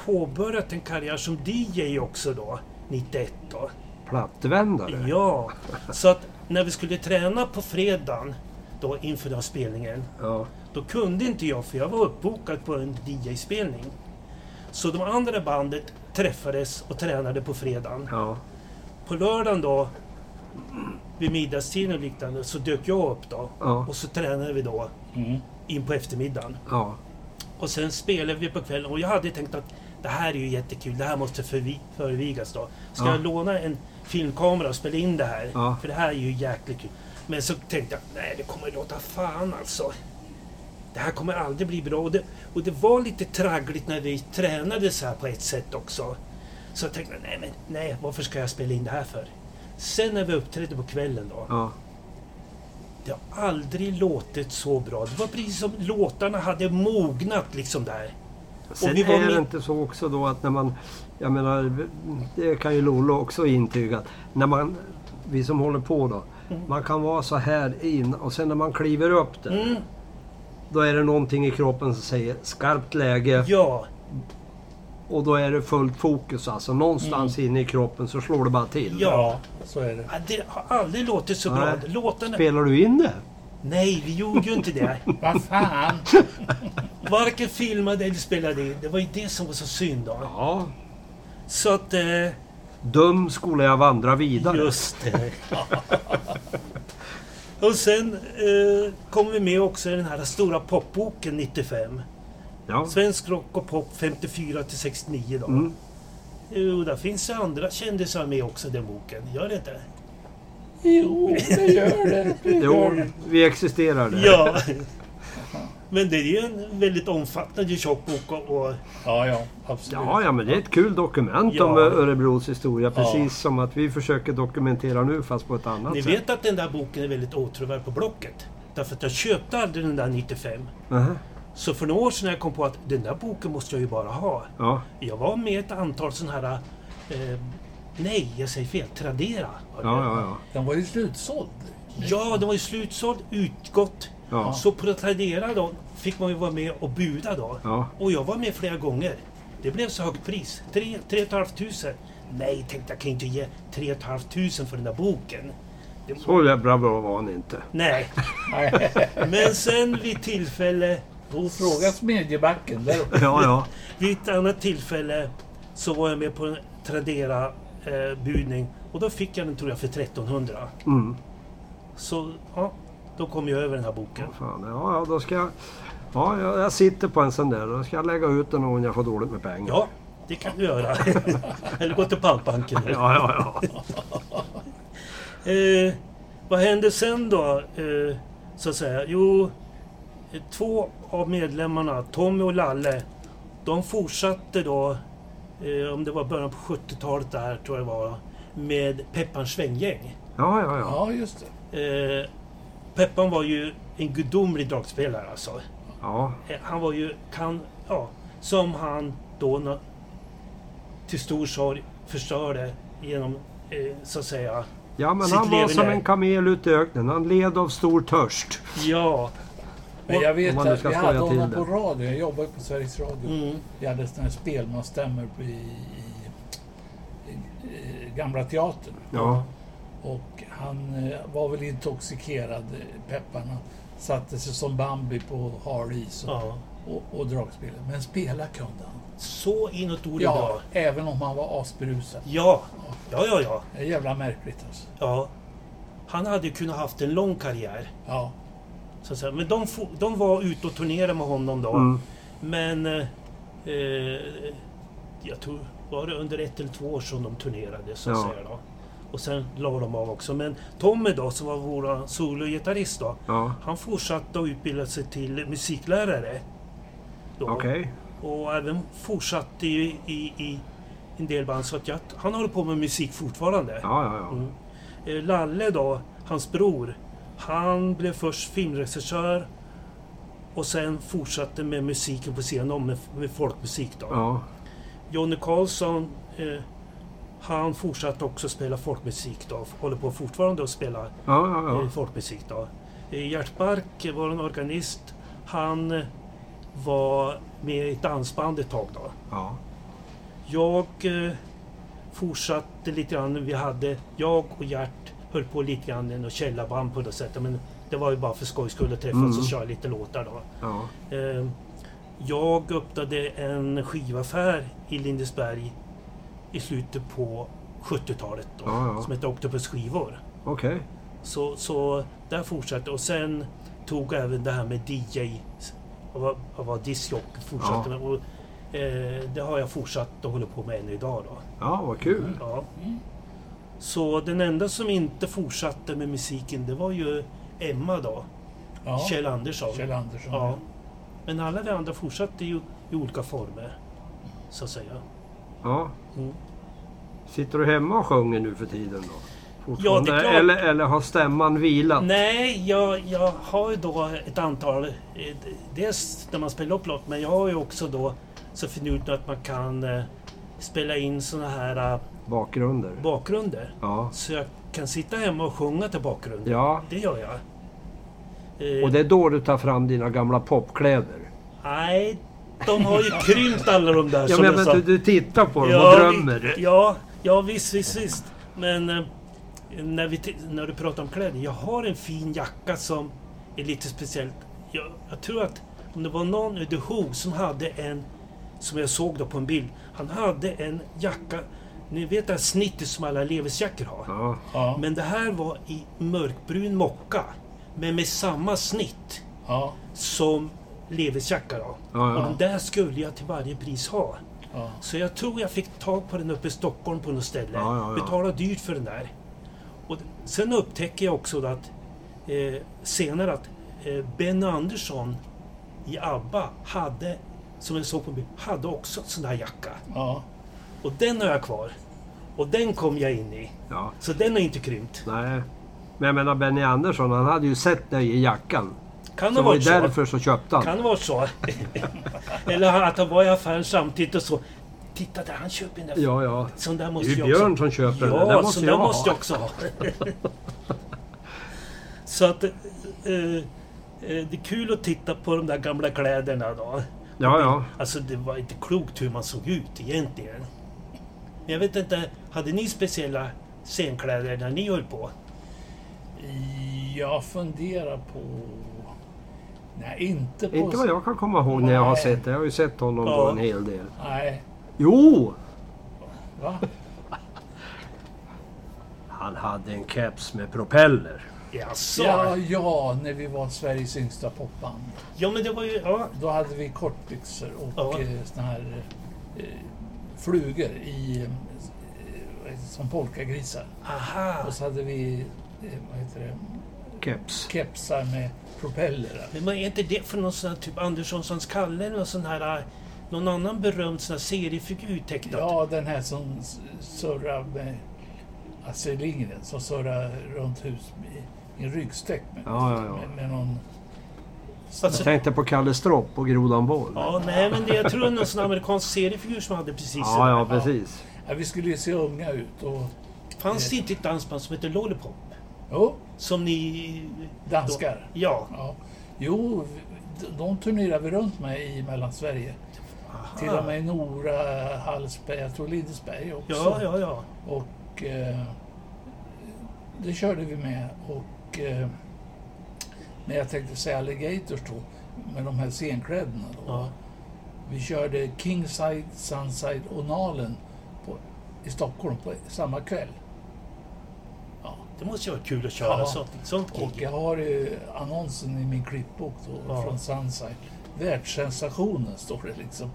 S4: påbörjat en karriär som DJ också då, 91 då.
S3: Plattvändare.
S4: Ja, så att när vi skulle träna på fredagen då inför den här spelningen,
S3: Ja.
S4: då kunde inte jag för jag var uppbokad på en DJ-spelning. Så de andra bandet träffades och tränade på fredagen.
S3: ja.
S4: På lördagen då, vid middagstiden och liknande, så dök jag upp då.
S3: Ja.
S4: Och så tränade vi då
S2: Mm.
S4: in på eftermiddagen.
S3: Ja.
S4: Och sen spelade vi på kvällen och jag hade tänkt att det här är ju jättekul, det här måste förvi- förvigas då. Ska
S3: Ja.
S4: jag låna en filmkamera och spela in det här?
S3: Ja.
S4: För det här är ju jäkligt kul. Men så tänkte jag, nej det kommer låta fan alltså. Det här kommer aldrig bli bra. Och det, och det var lite traggligt när vi tränade så här på ett sätt också. Så jag tänkte, nej men nej, varför ska jag spela in det här för? Sen när vi uppträdde på kvällen då.
S3: ja.
S4: Det har aldrig låtit så bra. Det var precis som låtarna hade mognat liksom där.
S3: Sen
S4: vi var
S3: är det
S4: med-
S3: inte så också då att när man, jag menar, det kan ju Lollo också intyga, att när man, vi som håller på då,
S4: Mm.
S3: man kan vara så här in och sen när man kliver upp där,
S4: Mm,
S3: då är det någonting i kroppen som säger skarpt läge
S4: ja.
S3: och då är det fullt fokus alltså. Någonstans inne i kroppen så slår det bara till.
S4: Mm. Ja.
S2: så är det.
S4: Ja, Det har aldrig låtit så bra.
S3: Nej.
S4: Låtarna...
S3: Spelar du in det?
S4: Nej, vi gjorde ju inte det.
S2: Vad fan!
S4: Varken filmade eller spelade in. Det var ju det som var så synd då.
S3: Ja.
S4: Så att... Eh,
S3: Dum skulle jag vandra vidare.
S4: just det. Och sen eh, kom vi med också i den här stora popboken 95.
S3: Ja.
S4: Svensk rock och pop 54 till 69 då.
S3: Mm.
S4: Jo, där finns det andra kändisar med också i den boken. Gör det inte?
S2: Jo, det gör det. det,
S3: Jo,
S2: gör det.
S3: vi existerar där.
S4: Ja. Men det är ju en väldigt omfattande tjock bok och, och
S2: Ja, ja, absolut.
S3: Ja, ja, men det är ett kul dokument
S4: Ja.
S3: om eh, Örebros historia. Precis
S2: Ja.
S3: som att vi försöker dokumentera nu fast på ett annat
S4: ni
S3: sätt.
S4: vet att den där boken är väldigt åtråvärd på Blocket. Därför att jag köpte aldrig den där 95.
S3: Nähä.
S4: Så för några år sedan jag kom på att den där boken måste jag ju bara ha.
S3: Ja,
S4: Jag var med i ett antal sådana här... Eh, nej, jag säger fel. Tradera. var det.
S3: ja, ja. ja.
S2: Den var ju slutsåld.
S4: ja, den var ju slutsåld, utgått.
S3: ja.
S4: Så på Tradera då fick man ju vara med och buda då.
S3: Ja.
S4: Och jag var med flera gånger. Det blev så högt pris. 3 500. Nej, tänkte jag kan ju inte ge 3 500 för den där boken. Det,
S3: Så jävla bra var han inte.
S4: nej,
S2: Nej.
S4: men sen vid tillfälle
S2: Jo, fråga Smedjebacken. Där.
S3: Ja, ja.
S4: Vid ett annat tillfälle så var jag med på en Tradera-budning och då fick jag den tror jag för 1300.
S3: Mm.
S4: Så ja, då kom jag över den här boken.
S3: Fan, ja, ja, då ska jag... Ja, jag, jag sitter på en sån där. Då ska jag lägga ut den om jag får dåligt med pengar.
S4: Ja, det kan du göra. Eller gå till pantbanken.
S3: ja, ja. ja.
S4: Eh, vad hände sen då? Eh, så att säga? Jo, eh, två av medlemmarna, Tommy och Lalle, de fortsatte då, eh, om det var början på 70-talet där tror jag det var, med Peppans svänggäng.
S3: ja, ja, ja.
S2: Ja, just det.
S4: Eh, Peppan var ju en gudomlig dragspelare alltså.
S3: ja.
S4: Eh, han var ju, kan, ja, som han då na- till stor sorg förstörde genom, eh, så att säga,
S3: Ja, men
S4: Sitt
S3: han var
S4: leverne.
S3: som en kamel ute i öknen. Han led av stor törst.
S4: ja,
S2: Men jag vet
S3: Om man nu
S2: att
S3: ska
S2: vi
S3: skoja
S2: hade
S3: till
S2: honom
S3: det.
S2: på radio. Jag jobbade på Sveriges Radio.
S4: mm,
S2: Vi hade sådana här spelmansstämmor på- i, i, i Gamla Teatern.
S3: Ja.
S2: Och han eh, var väl intoxikerad, eh, Peppan. Han satte sig som Bambi på hal is och,
S4: ja.
S2: och, och dragspelade. Men spela kunde han.
S4: Så inåt ordet
S2: Ja,
S4: bra.
S2: även om han var asberusad.
S4: Ja, ja, ja, ja.
S2: Det är jävla märkligt alltså.
S4: ja. Han hade ju kunnat haft en lång karriär.
S2: Ja,
S4: Så att säga. Men de, for, de var ute och turnerade med honom då.
S3: Mm.
S4: Men eh, eh, jag tror var det under ett eller två år som de turnerade så att
S3: Ja.
S4: säga. Då. Och sen la de av också. Men Tommy då, som var vår sologitarrist då.
S3: Ja.
S4: Han fortsatte att utbilda sig till musiklärare. då.
S3: Okej.
S4: Och även fortsatte ju i, i en del band. Så att jag, han håller på med musik fortfarande.
S3: Ja, ja, ja.
S4: Mm. Eh, Lalle då, hans bror, han blev först filmregissör och sen fortsatte med musiken på scenen då, med, med folkmusik. Då.
S3: Ja.
S4: Jonny Karlsson, eh, han fortsatte också spela folkmusik då, håller på fortfarande att spela
S3: Ja, ja,
S4: eh,
S3: ja.
S4: folkmusik. Då. Eh, Gert Bark var en organist, han eh, var med i ett dansband ett tag. Då.
S3: ja.
S4: Jag eh, fortsatte lite grann. Vi hade, jag och Gert höll på lite grann i något källarband på något sätt. Men det var ju bara för skojs skull att träffas
S3: Mm.
S4: och köra lite låtar då.
S3: ja.
S4: Eh, jag öppnade en skivaffär i Lindesberg i slutet på 70-talet då.
S3: Ja, ja.
S4: Som hette Octopus skivor.
S3: Okej.
S4: Så, så där fortsatte Och sen tog jag även det här med DJ. Jag var, jag var discjockey
S3: Ja.
S4: fortsatte med. Och, eh, det har jag fortsatt och håller på med än idag då.
S3: Ja, vad kul.
S4: Ja. Så den enda som inte fortsatte med musiken det var ju Emma då,
S2: ja.
S4: Kjell Andersson.
S2: Kjell Andersson.
S4: ja. Men alla vi andra fortsatte ju i olika former, så att säga.
S3: Ja.
S4: Mm.
S3: Sitter du hemma och sjunger nu för tiden då?
S4: Ja, det är klart.
S3: Eller, eller har stämman vilat?
S4: Nej, jag, jag har ju då ett antal, eh, d- dels när man spelar upp låt, men jag har ju också då så finurligt att man kan eh, spela in såna här eh,
S3: Bakgrunder?
S4: bakgrunder.
S3: Ja.
S4: Så jag kan sitta hemma och sjunga till bakgrunden.
S3: Ja.
S4: Det gör jag. Eh,
S3: Och det är då du tar fram dina gamla popkläder?
S4: Nej, de har ju krympt alla de där
S3: Ja,
S4: som
S3: men
S4: jag
S3: jag
S4: sa.
S3: menar, du tittar på dem
S4: Ja,
S3: och drömmer?
S4: vi- Ja, ja visst, visst, visst. Men eh, när, vi ti- när du pratar om kläder. Jag har en fin jacka som är lite speciellt. Jag, jag tror att om det var någon ur The Who som hade en, som jag såg då på en bild. Han hade en jacka, ni vet det här snittet som alla Levisjackor har.
S3: Ja.
S2: Ja.
S4: Men det här var i mörkbrun mocka. Men med samma snitt
S2: Ja.
S4: som Levisjacka då.
S3: Ja, ja.
S4: Och den där skulle jag till varje pris ha.
S2: Ja.
S4: Så jag tror jag fick tag på den uppe i Stockholm på något ställe.
S3: Ja, ja, ja.
S4: Betalade dyrt för den där. Och d- sen upptäcker jag också då att eh, senare att eh, Benny Andersson i ABBA hade, som jag såg på bild, hade också en sån här jacka.
S2: ja.
S4: Och den har jag kvar. Och den kom jag in i.
S3: ja.
S4: Så den har inte krympt.
S3: Nej. Men jag menar Benny Andersson, han hade ju sett dig i jackan.
S4: Kan
S3: Så det
S4: ha
S3: var ju
S4: varit så.
S3: därför så köpte han.
S4: Kan vara så. Eller att han var i affären samtidigt och så. Titta där, han köper den där.
S3: Ja, ja.
S4: Sån där
S3: Det
S4: måste
S3: är ju
S4: jag
S3: Björn
S4: också
S3: som köper den.
S4: Ja,
S3: Den
S4: måste
S3: måste
S4: sån
S3: jag
S4: där
S3: ha.
S4: måste jag också ha. så att eh, eh, det är kul att titta på de där gamla kläderna då.
S3: Ja, ja.
S4: Alltså det var inte klokt hur man såg ut egentligen. Men jag vet inte, hade ni speciella scenkläder när ni höll på?
S2: Jag funderar på... Nej, inte på...
S3: Inte vad jag kan komma ihåg när jag har sett det. Jag har ju sett honom
S2: Ja.
S3: på en hel del.
S2: Nej,
S3: Jo!
S2: va?
S3: Han hade en keps med propeller.
S4: Jaså?
S2: Ja,
S4: Ja.
S2: ja, när vi var Sveriges yngsta popband.
S4: ja, men det var ju... Ja,
S2: Då hade vi kortbyxor och
S4: Ja.
S2: eh, såna här eh, flugor i, eh, vad heter det, som polkagrisar.
S4: aha.
S2: Och så hade vi eh, vad heter det,
S3: Keps.
S2: kepsar med propeller.
S4: Men vad är inte det för någon sån här typ Anderssonssons Kalle eller någon sån här... eh, Någon annan berömd sån här seriefigur tecknat?
S2: Ja, den här som s- surrar med Astrid Lindgren, som surrar runt hus i- i en ryggsäck med,
S3: Ja, ja, ja.
S2: med, med någon...
S3: Jag
S4: Alltså,
S3: tänkte på Kalle Stropp och Grodan Boll. Ja,
S4: ja, nej men det, jag tror det är någon sån amerikansk seriefigur som hade precis det där.
S3: ja precis.
S2: Ja, vi skulle ju se unga ut och...
S4: Fanns det inte ett dansband som hette Lollipop?
S2: Jo,
S4: Som ni...
S2: danskar.
S4: Då, ja.
S2: Ja. Jo, d- de turnerar vi runt med i Mellansverige. Till och med Nora, Hallsberg, jag tror Lindesberg också.
S4: Ja, ja, ja.
S2: Och eh, det körde vi med. Och, eh, men jag tänkte säga Alligators då, med de här scenkläderna. Då.
S4: Ja.
S2: Vi körde Kingside, Sunside och Nalen på, i Stockholm på samma kväll.
S4: Det måste ju vara kul att köra
S2: Ja.
S4: sånt, sånt
S2: Och
S4: gig.
S2: jag har ju annonsen i min klippbok då,
S4: Ja.
S2: från Sunside. Världssensationen står det liksom.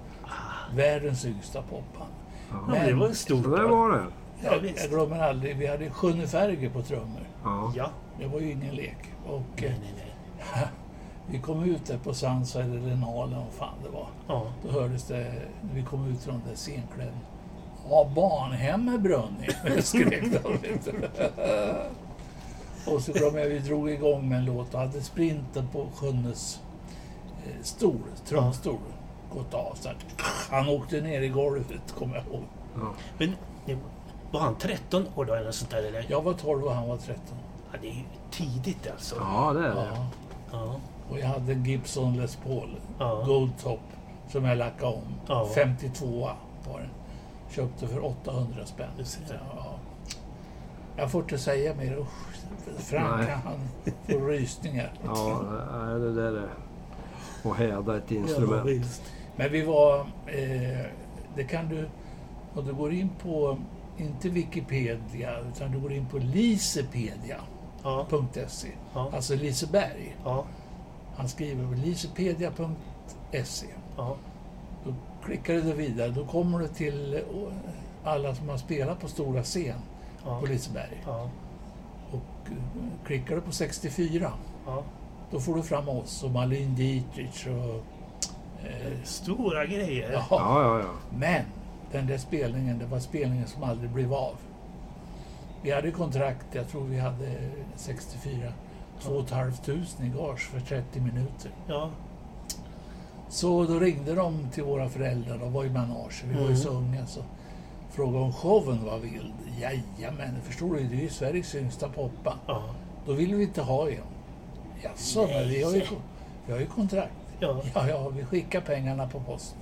S2: Världens yngsta popband.
S4: Ah. Ja, det var en stor...
S3: Så där var det.
S4: Ja,
S2: Jag,
S4: visst.
S2: jag glömmer aldrig, vi hade Sjunne Ferger på trummor.
S3: Ja.
S4: Ja.
S2: Det var ju ingen lek. Och eh,
S4: Nej, nej, nej.
S2: vi kom ut där på Sunside eller Nalen, vad fan det var.
S4: Ja.
S2: Då hördes det, när vi kom ut från den där scenkläderna. Ja, barnhemmet brann ner, skrek de. och så glömde jag, vi drog igång med en låt och hade sprinten på Sjunnes eh, stol, trumstol, gått av. Så att, han åkte ner i golvet, kommer jag ihåg.
S3: Ja.
S4: Men det- var han 13 år då eller sånt där eller?
S2: Jag var 12 och han var 13.
S4: Ja, det är ju tidigt alltså.
S3: ja, det är det.
S2: Ja.
S4: Ja.
S2: Och jag hade en Gibson Les Paul
S4: Ja.
S2: Goldtop som jag lackade om.
S4: Ja.
S2: 52 var den. Köpte för 800 spänn. Ja. Jag får inte säga mer. Usch, Frank
S3: Nej.
S2: han får rysningar.
S3: Ja, nej, det där är att häda ett
S4: Ja,
S3: instrument.
S4: visst.
S2: Men vi var... Eh, det kan du... Om du går in på, inte Wikipedia, utan du går in på lisepedia.se.
S4: Ja. Ja.
S2: Alltså Liseberg.
S4: Ja.
S2: Han skriver på lisepedia.se.
S4: Ja.
S2: Då klickar du vidare. Då kommer du till eh, alla som har spelat på stora scen
S4: Ja.
S2: på Liseberg.
S4: Ja.
S2: Och eh, klickar du på 64,
S4: ja.
S2: då får du fram oss och Malin Dietrich och... eh,
S4: Stora grejer.
S2: Jaha.
S3: Ja, ja, ja.
S2: Men den där spelningen, det var spelningen som aldrig blev av. Vi hade kontrakt, jag tror vi hade eh, 64, 2 500 i gage för 30 minuter.
S4: Ja.
S2: Så då ringde de till våra föräldrar, de var ju manage, vi
S4: Mm.
S2: var ju så unga. Så frågade om showen var vild. Jajamän, förstår du, det är ju Sveriges yngsta poppa.
S4: Ja.
S2: Då vill vi inte ha en. Jaså, men vi har ju, vi har ju kontrakt.
S4: Ja.
S2: Ja, ja, vi skickar pengarna på posten.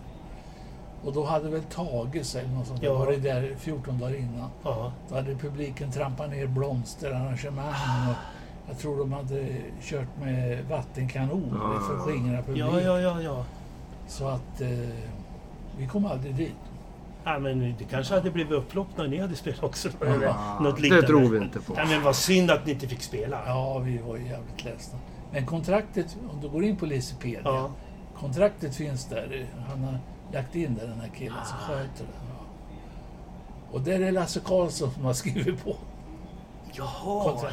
S2: Och då hade väl Tages eller något sånt,
S4: Ja.
S2: det var det där 14 dagar innan.
S4: Ja.
S2: Då hade publiken trampat ner blomsterarrangemang och jag tror de hade kört med vattenkanon
S3: Ja, ja,
S2: för
S3: ja.
S2: att skingra publiken.
S4: Ja, ja, ja, ja.
S2: Så att eh, vi kom aldrig dit.
S4: Ja, men det kanske hade blivit upplopp när ni hade spelat också. Eller
S3: Ja,
S4: något
S3: det
S4: liknande.
S3: tror vi inte på.
S4: Ja, men vad synd att ni inte fick spela.
S2: Ja, vi var ju jävligt ledsna. Men kontraktet, om du går in på Lisepedia,
S4: Ja.
S2: kontraktet finns där. Han har lagt in det, den här killen som sköter det. Ja. Och där är Lasse Karlsson som har skrivit på. Kontra-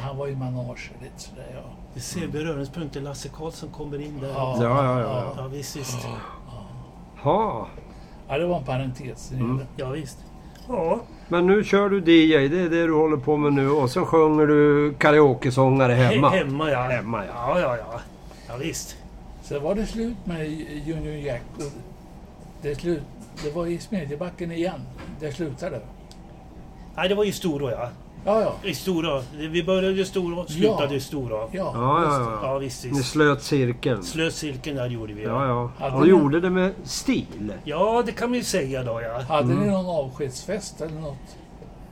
S4: Jaha.
S2: Han var ju manager lite sådär, ja.
S4: Du ser beröringspunkter. Lasse Karlsson kommer in där.
S2: Ja.
S3: Ja, ja, ja.
S4: Ja, visst, visst.
S3: Ha.
S2: Ja, det var en parentes. Mm.
S4: Ja, visst. Ja.
S3: Men nu kör du DJ, det är det du håller på med nu. Och sen sjunger du karaokesångare hemma.
S4: He- hemma, ja.
S3: Hemma, ja.
S4: Ja, ja, ja. Ja, visst.
S2: Sen var det slut med Junior Jack. Och det, är slut, det var i Smedjebacken igen. Det slutade.
S4: Nej, det var ju Storå, ja.
S2: Ja, ja.
S4: I Storå. Vi började i Storå och slutade i Storå.
S2: Ja,
S3: Ja,
S2: just det.
S3: ja, ja.
S4: Ja, visst,
S3: Ni
S4: visst.
S3: slöt cirkeln.
S4: Slöt cirkeln där gjorde vi.
S3: Ja, ja.
S2: Hade
S3: Och
S2: ni-
S3: gjorde det med stil.
S4: Ja, det kan man ju säga då, ja.
S2: Hade ni någon avskedsfest eller något?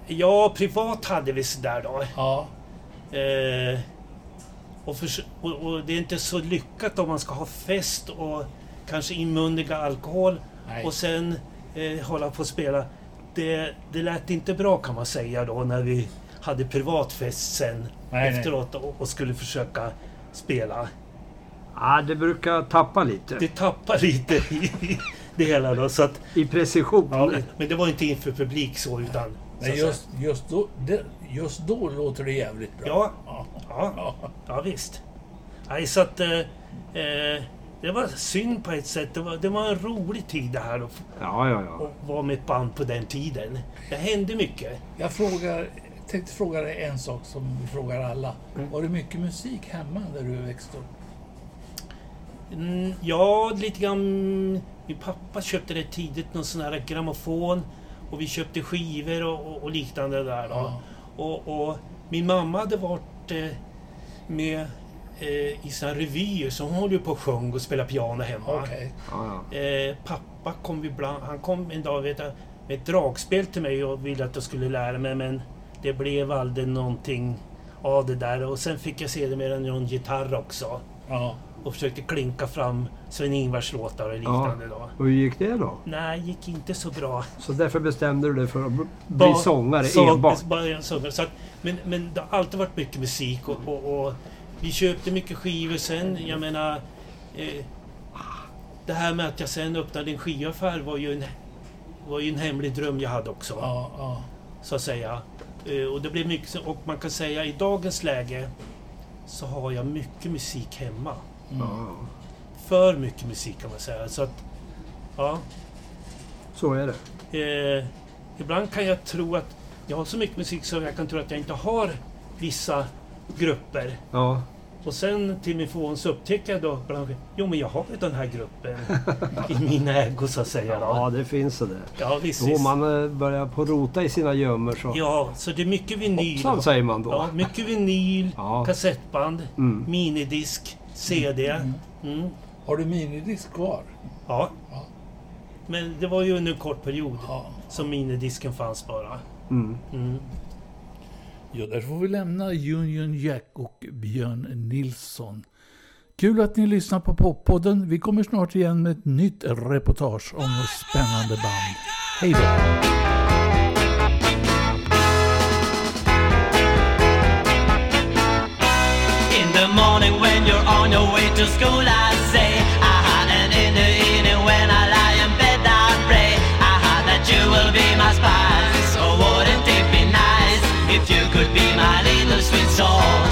S4: Ja, privat hade vi sådär då.
S2: Ja.
S4: Eh, Och, förs- och, och det är inte så lyckat om man ska ha fest och kanske inmundiga alkohol
S2: Nej.
S4: och sen eh, hålla på och spela. Det, det lät inte bra kan man säga då när vi hade privatfest sen
S2: nej.
S4: efteråt Och, och skulle försöka spela.
S3: Ja, det brukar tappa lite
S4: Det tappar lite i, i det hela då. Så att,
S3: i precision.
S4: men, men det var inte inför publik så utan... så
S2: Men
S4: att säga.
S2: just, just, då, det, just då låter det jävligt bra.
S4: Ja,
S2: Ja.
S4: ja.
S2: Ja.
S4: Ja visst. Nej, så att, eh, eh, det var synd på ett sätt. Det var, det var en rolig tid det här att
S3: Ja, ja, ja.
S4: att vara med ett band på den tiden. Det hände mycket.
S2: Jag frågar, tänkte fråga dig en sak som vi frågar alla. Var det mycket musik hemma där du växte upp?
S4: Mm, ja, lite grann. Min pappa köpte rätt tidigt någon sån här grammofon och vi köpte skivor och, och, och liknande där då.
S2: Ja.
S4: Och, och min mamma hade varit eh, med eh, i såna här revyer så hon höll ju på och sjöng och spelade piano hemma.
S2: Okej.
S3: ja, ja.
S4: Eh, pappa kom ibland, han kom en dag vet jag, med ett dragspel till mig och ville att jag skulle lära mig men det blev aldrig någonting av det där. Och sen fick jag sedermera någon gitarr också
S2: Ja.
S4: och försökte klinka fram Sven-Ingvars låtar och liknande. Då.
S3: Och hur gick det då?
S4: Nej, gick inte så bra.
S3: Så därför bestämde du dig för att bli sångare enbart?
S4: bara en sångare. Så att, men, men det har alltid varit mycket musik och, och, och vi köpte mycket skivor sen. Jag menar... Eh, det här med att jag sen öppnade en skivaffär var ju en, var ju en hemlig dröm jag hade också.
S2: Ja, ja.
S4: Så att säga. Eh, och det blev mycket... så- Och man kan säga i dagens läge så har jag mycket musik hemma.
S3: Ja,
S4: För mycket musik kan man säga. Så att... Ja.
S3: så är det.
S4: Eh, ibland kan jag tro att jag har så mycket musik så jag kan tro att jag inte har vissa grupper.
S3: Ja,
S4: Och sen till min förvåning så upptäcker jag då bland jo men jag har ju den här gruppen i min ägo så att säga. Då.
S3: ja det finns det där.
S4: Ja, visst.
S3: Då
S4: visst.
S3: man eh, börjar på rota i sina gömmor så...
S4: Ja, så det är mycket vinyl.
S3: Hoppsan säger man då.
S4: Ja, mycket vinyl,
S3: Ja.
S4: kassettband,
S3: Mm.
S4: minidisk, CD. Mm.
S2: Har du minidisk kvar?
S4: Ja.
S2: Ja.
S4: Men det var ju under en kort period
S2: Ja.
S4: som minidisken fanns bara.
S3: Mm.
S4: Mm.
S2: Ja, där får vi lämna Union Jack och Björn Nilsson. Kul att ni lyssnar på Poppodden. Vi kommer snart igen med ett nytt reportage om spännande band. Hej då!
S1: In the morning when you're on your way to school, I say, Aha, and in the evening when I lie in bed, I pray, Aha, that you will be my spice. Oh, wouldn't it be nice if you could be my little sweet soul? Oh, Oh,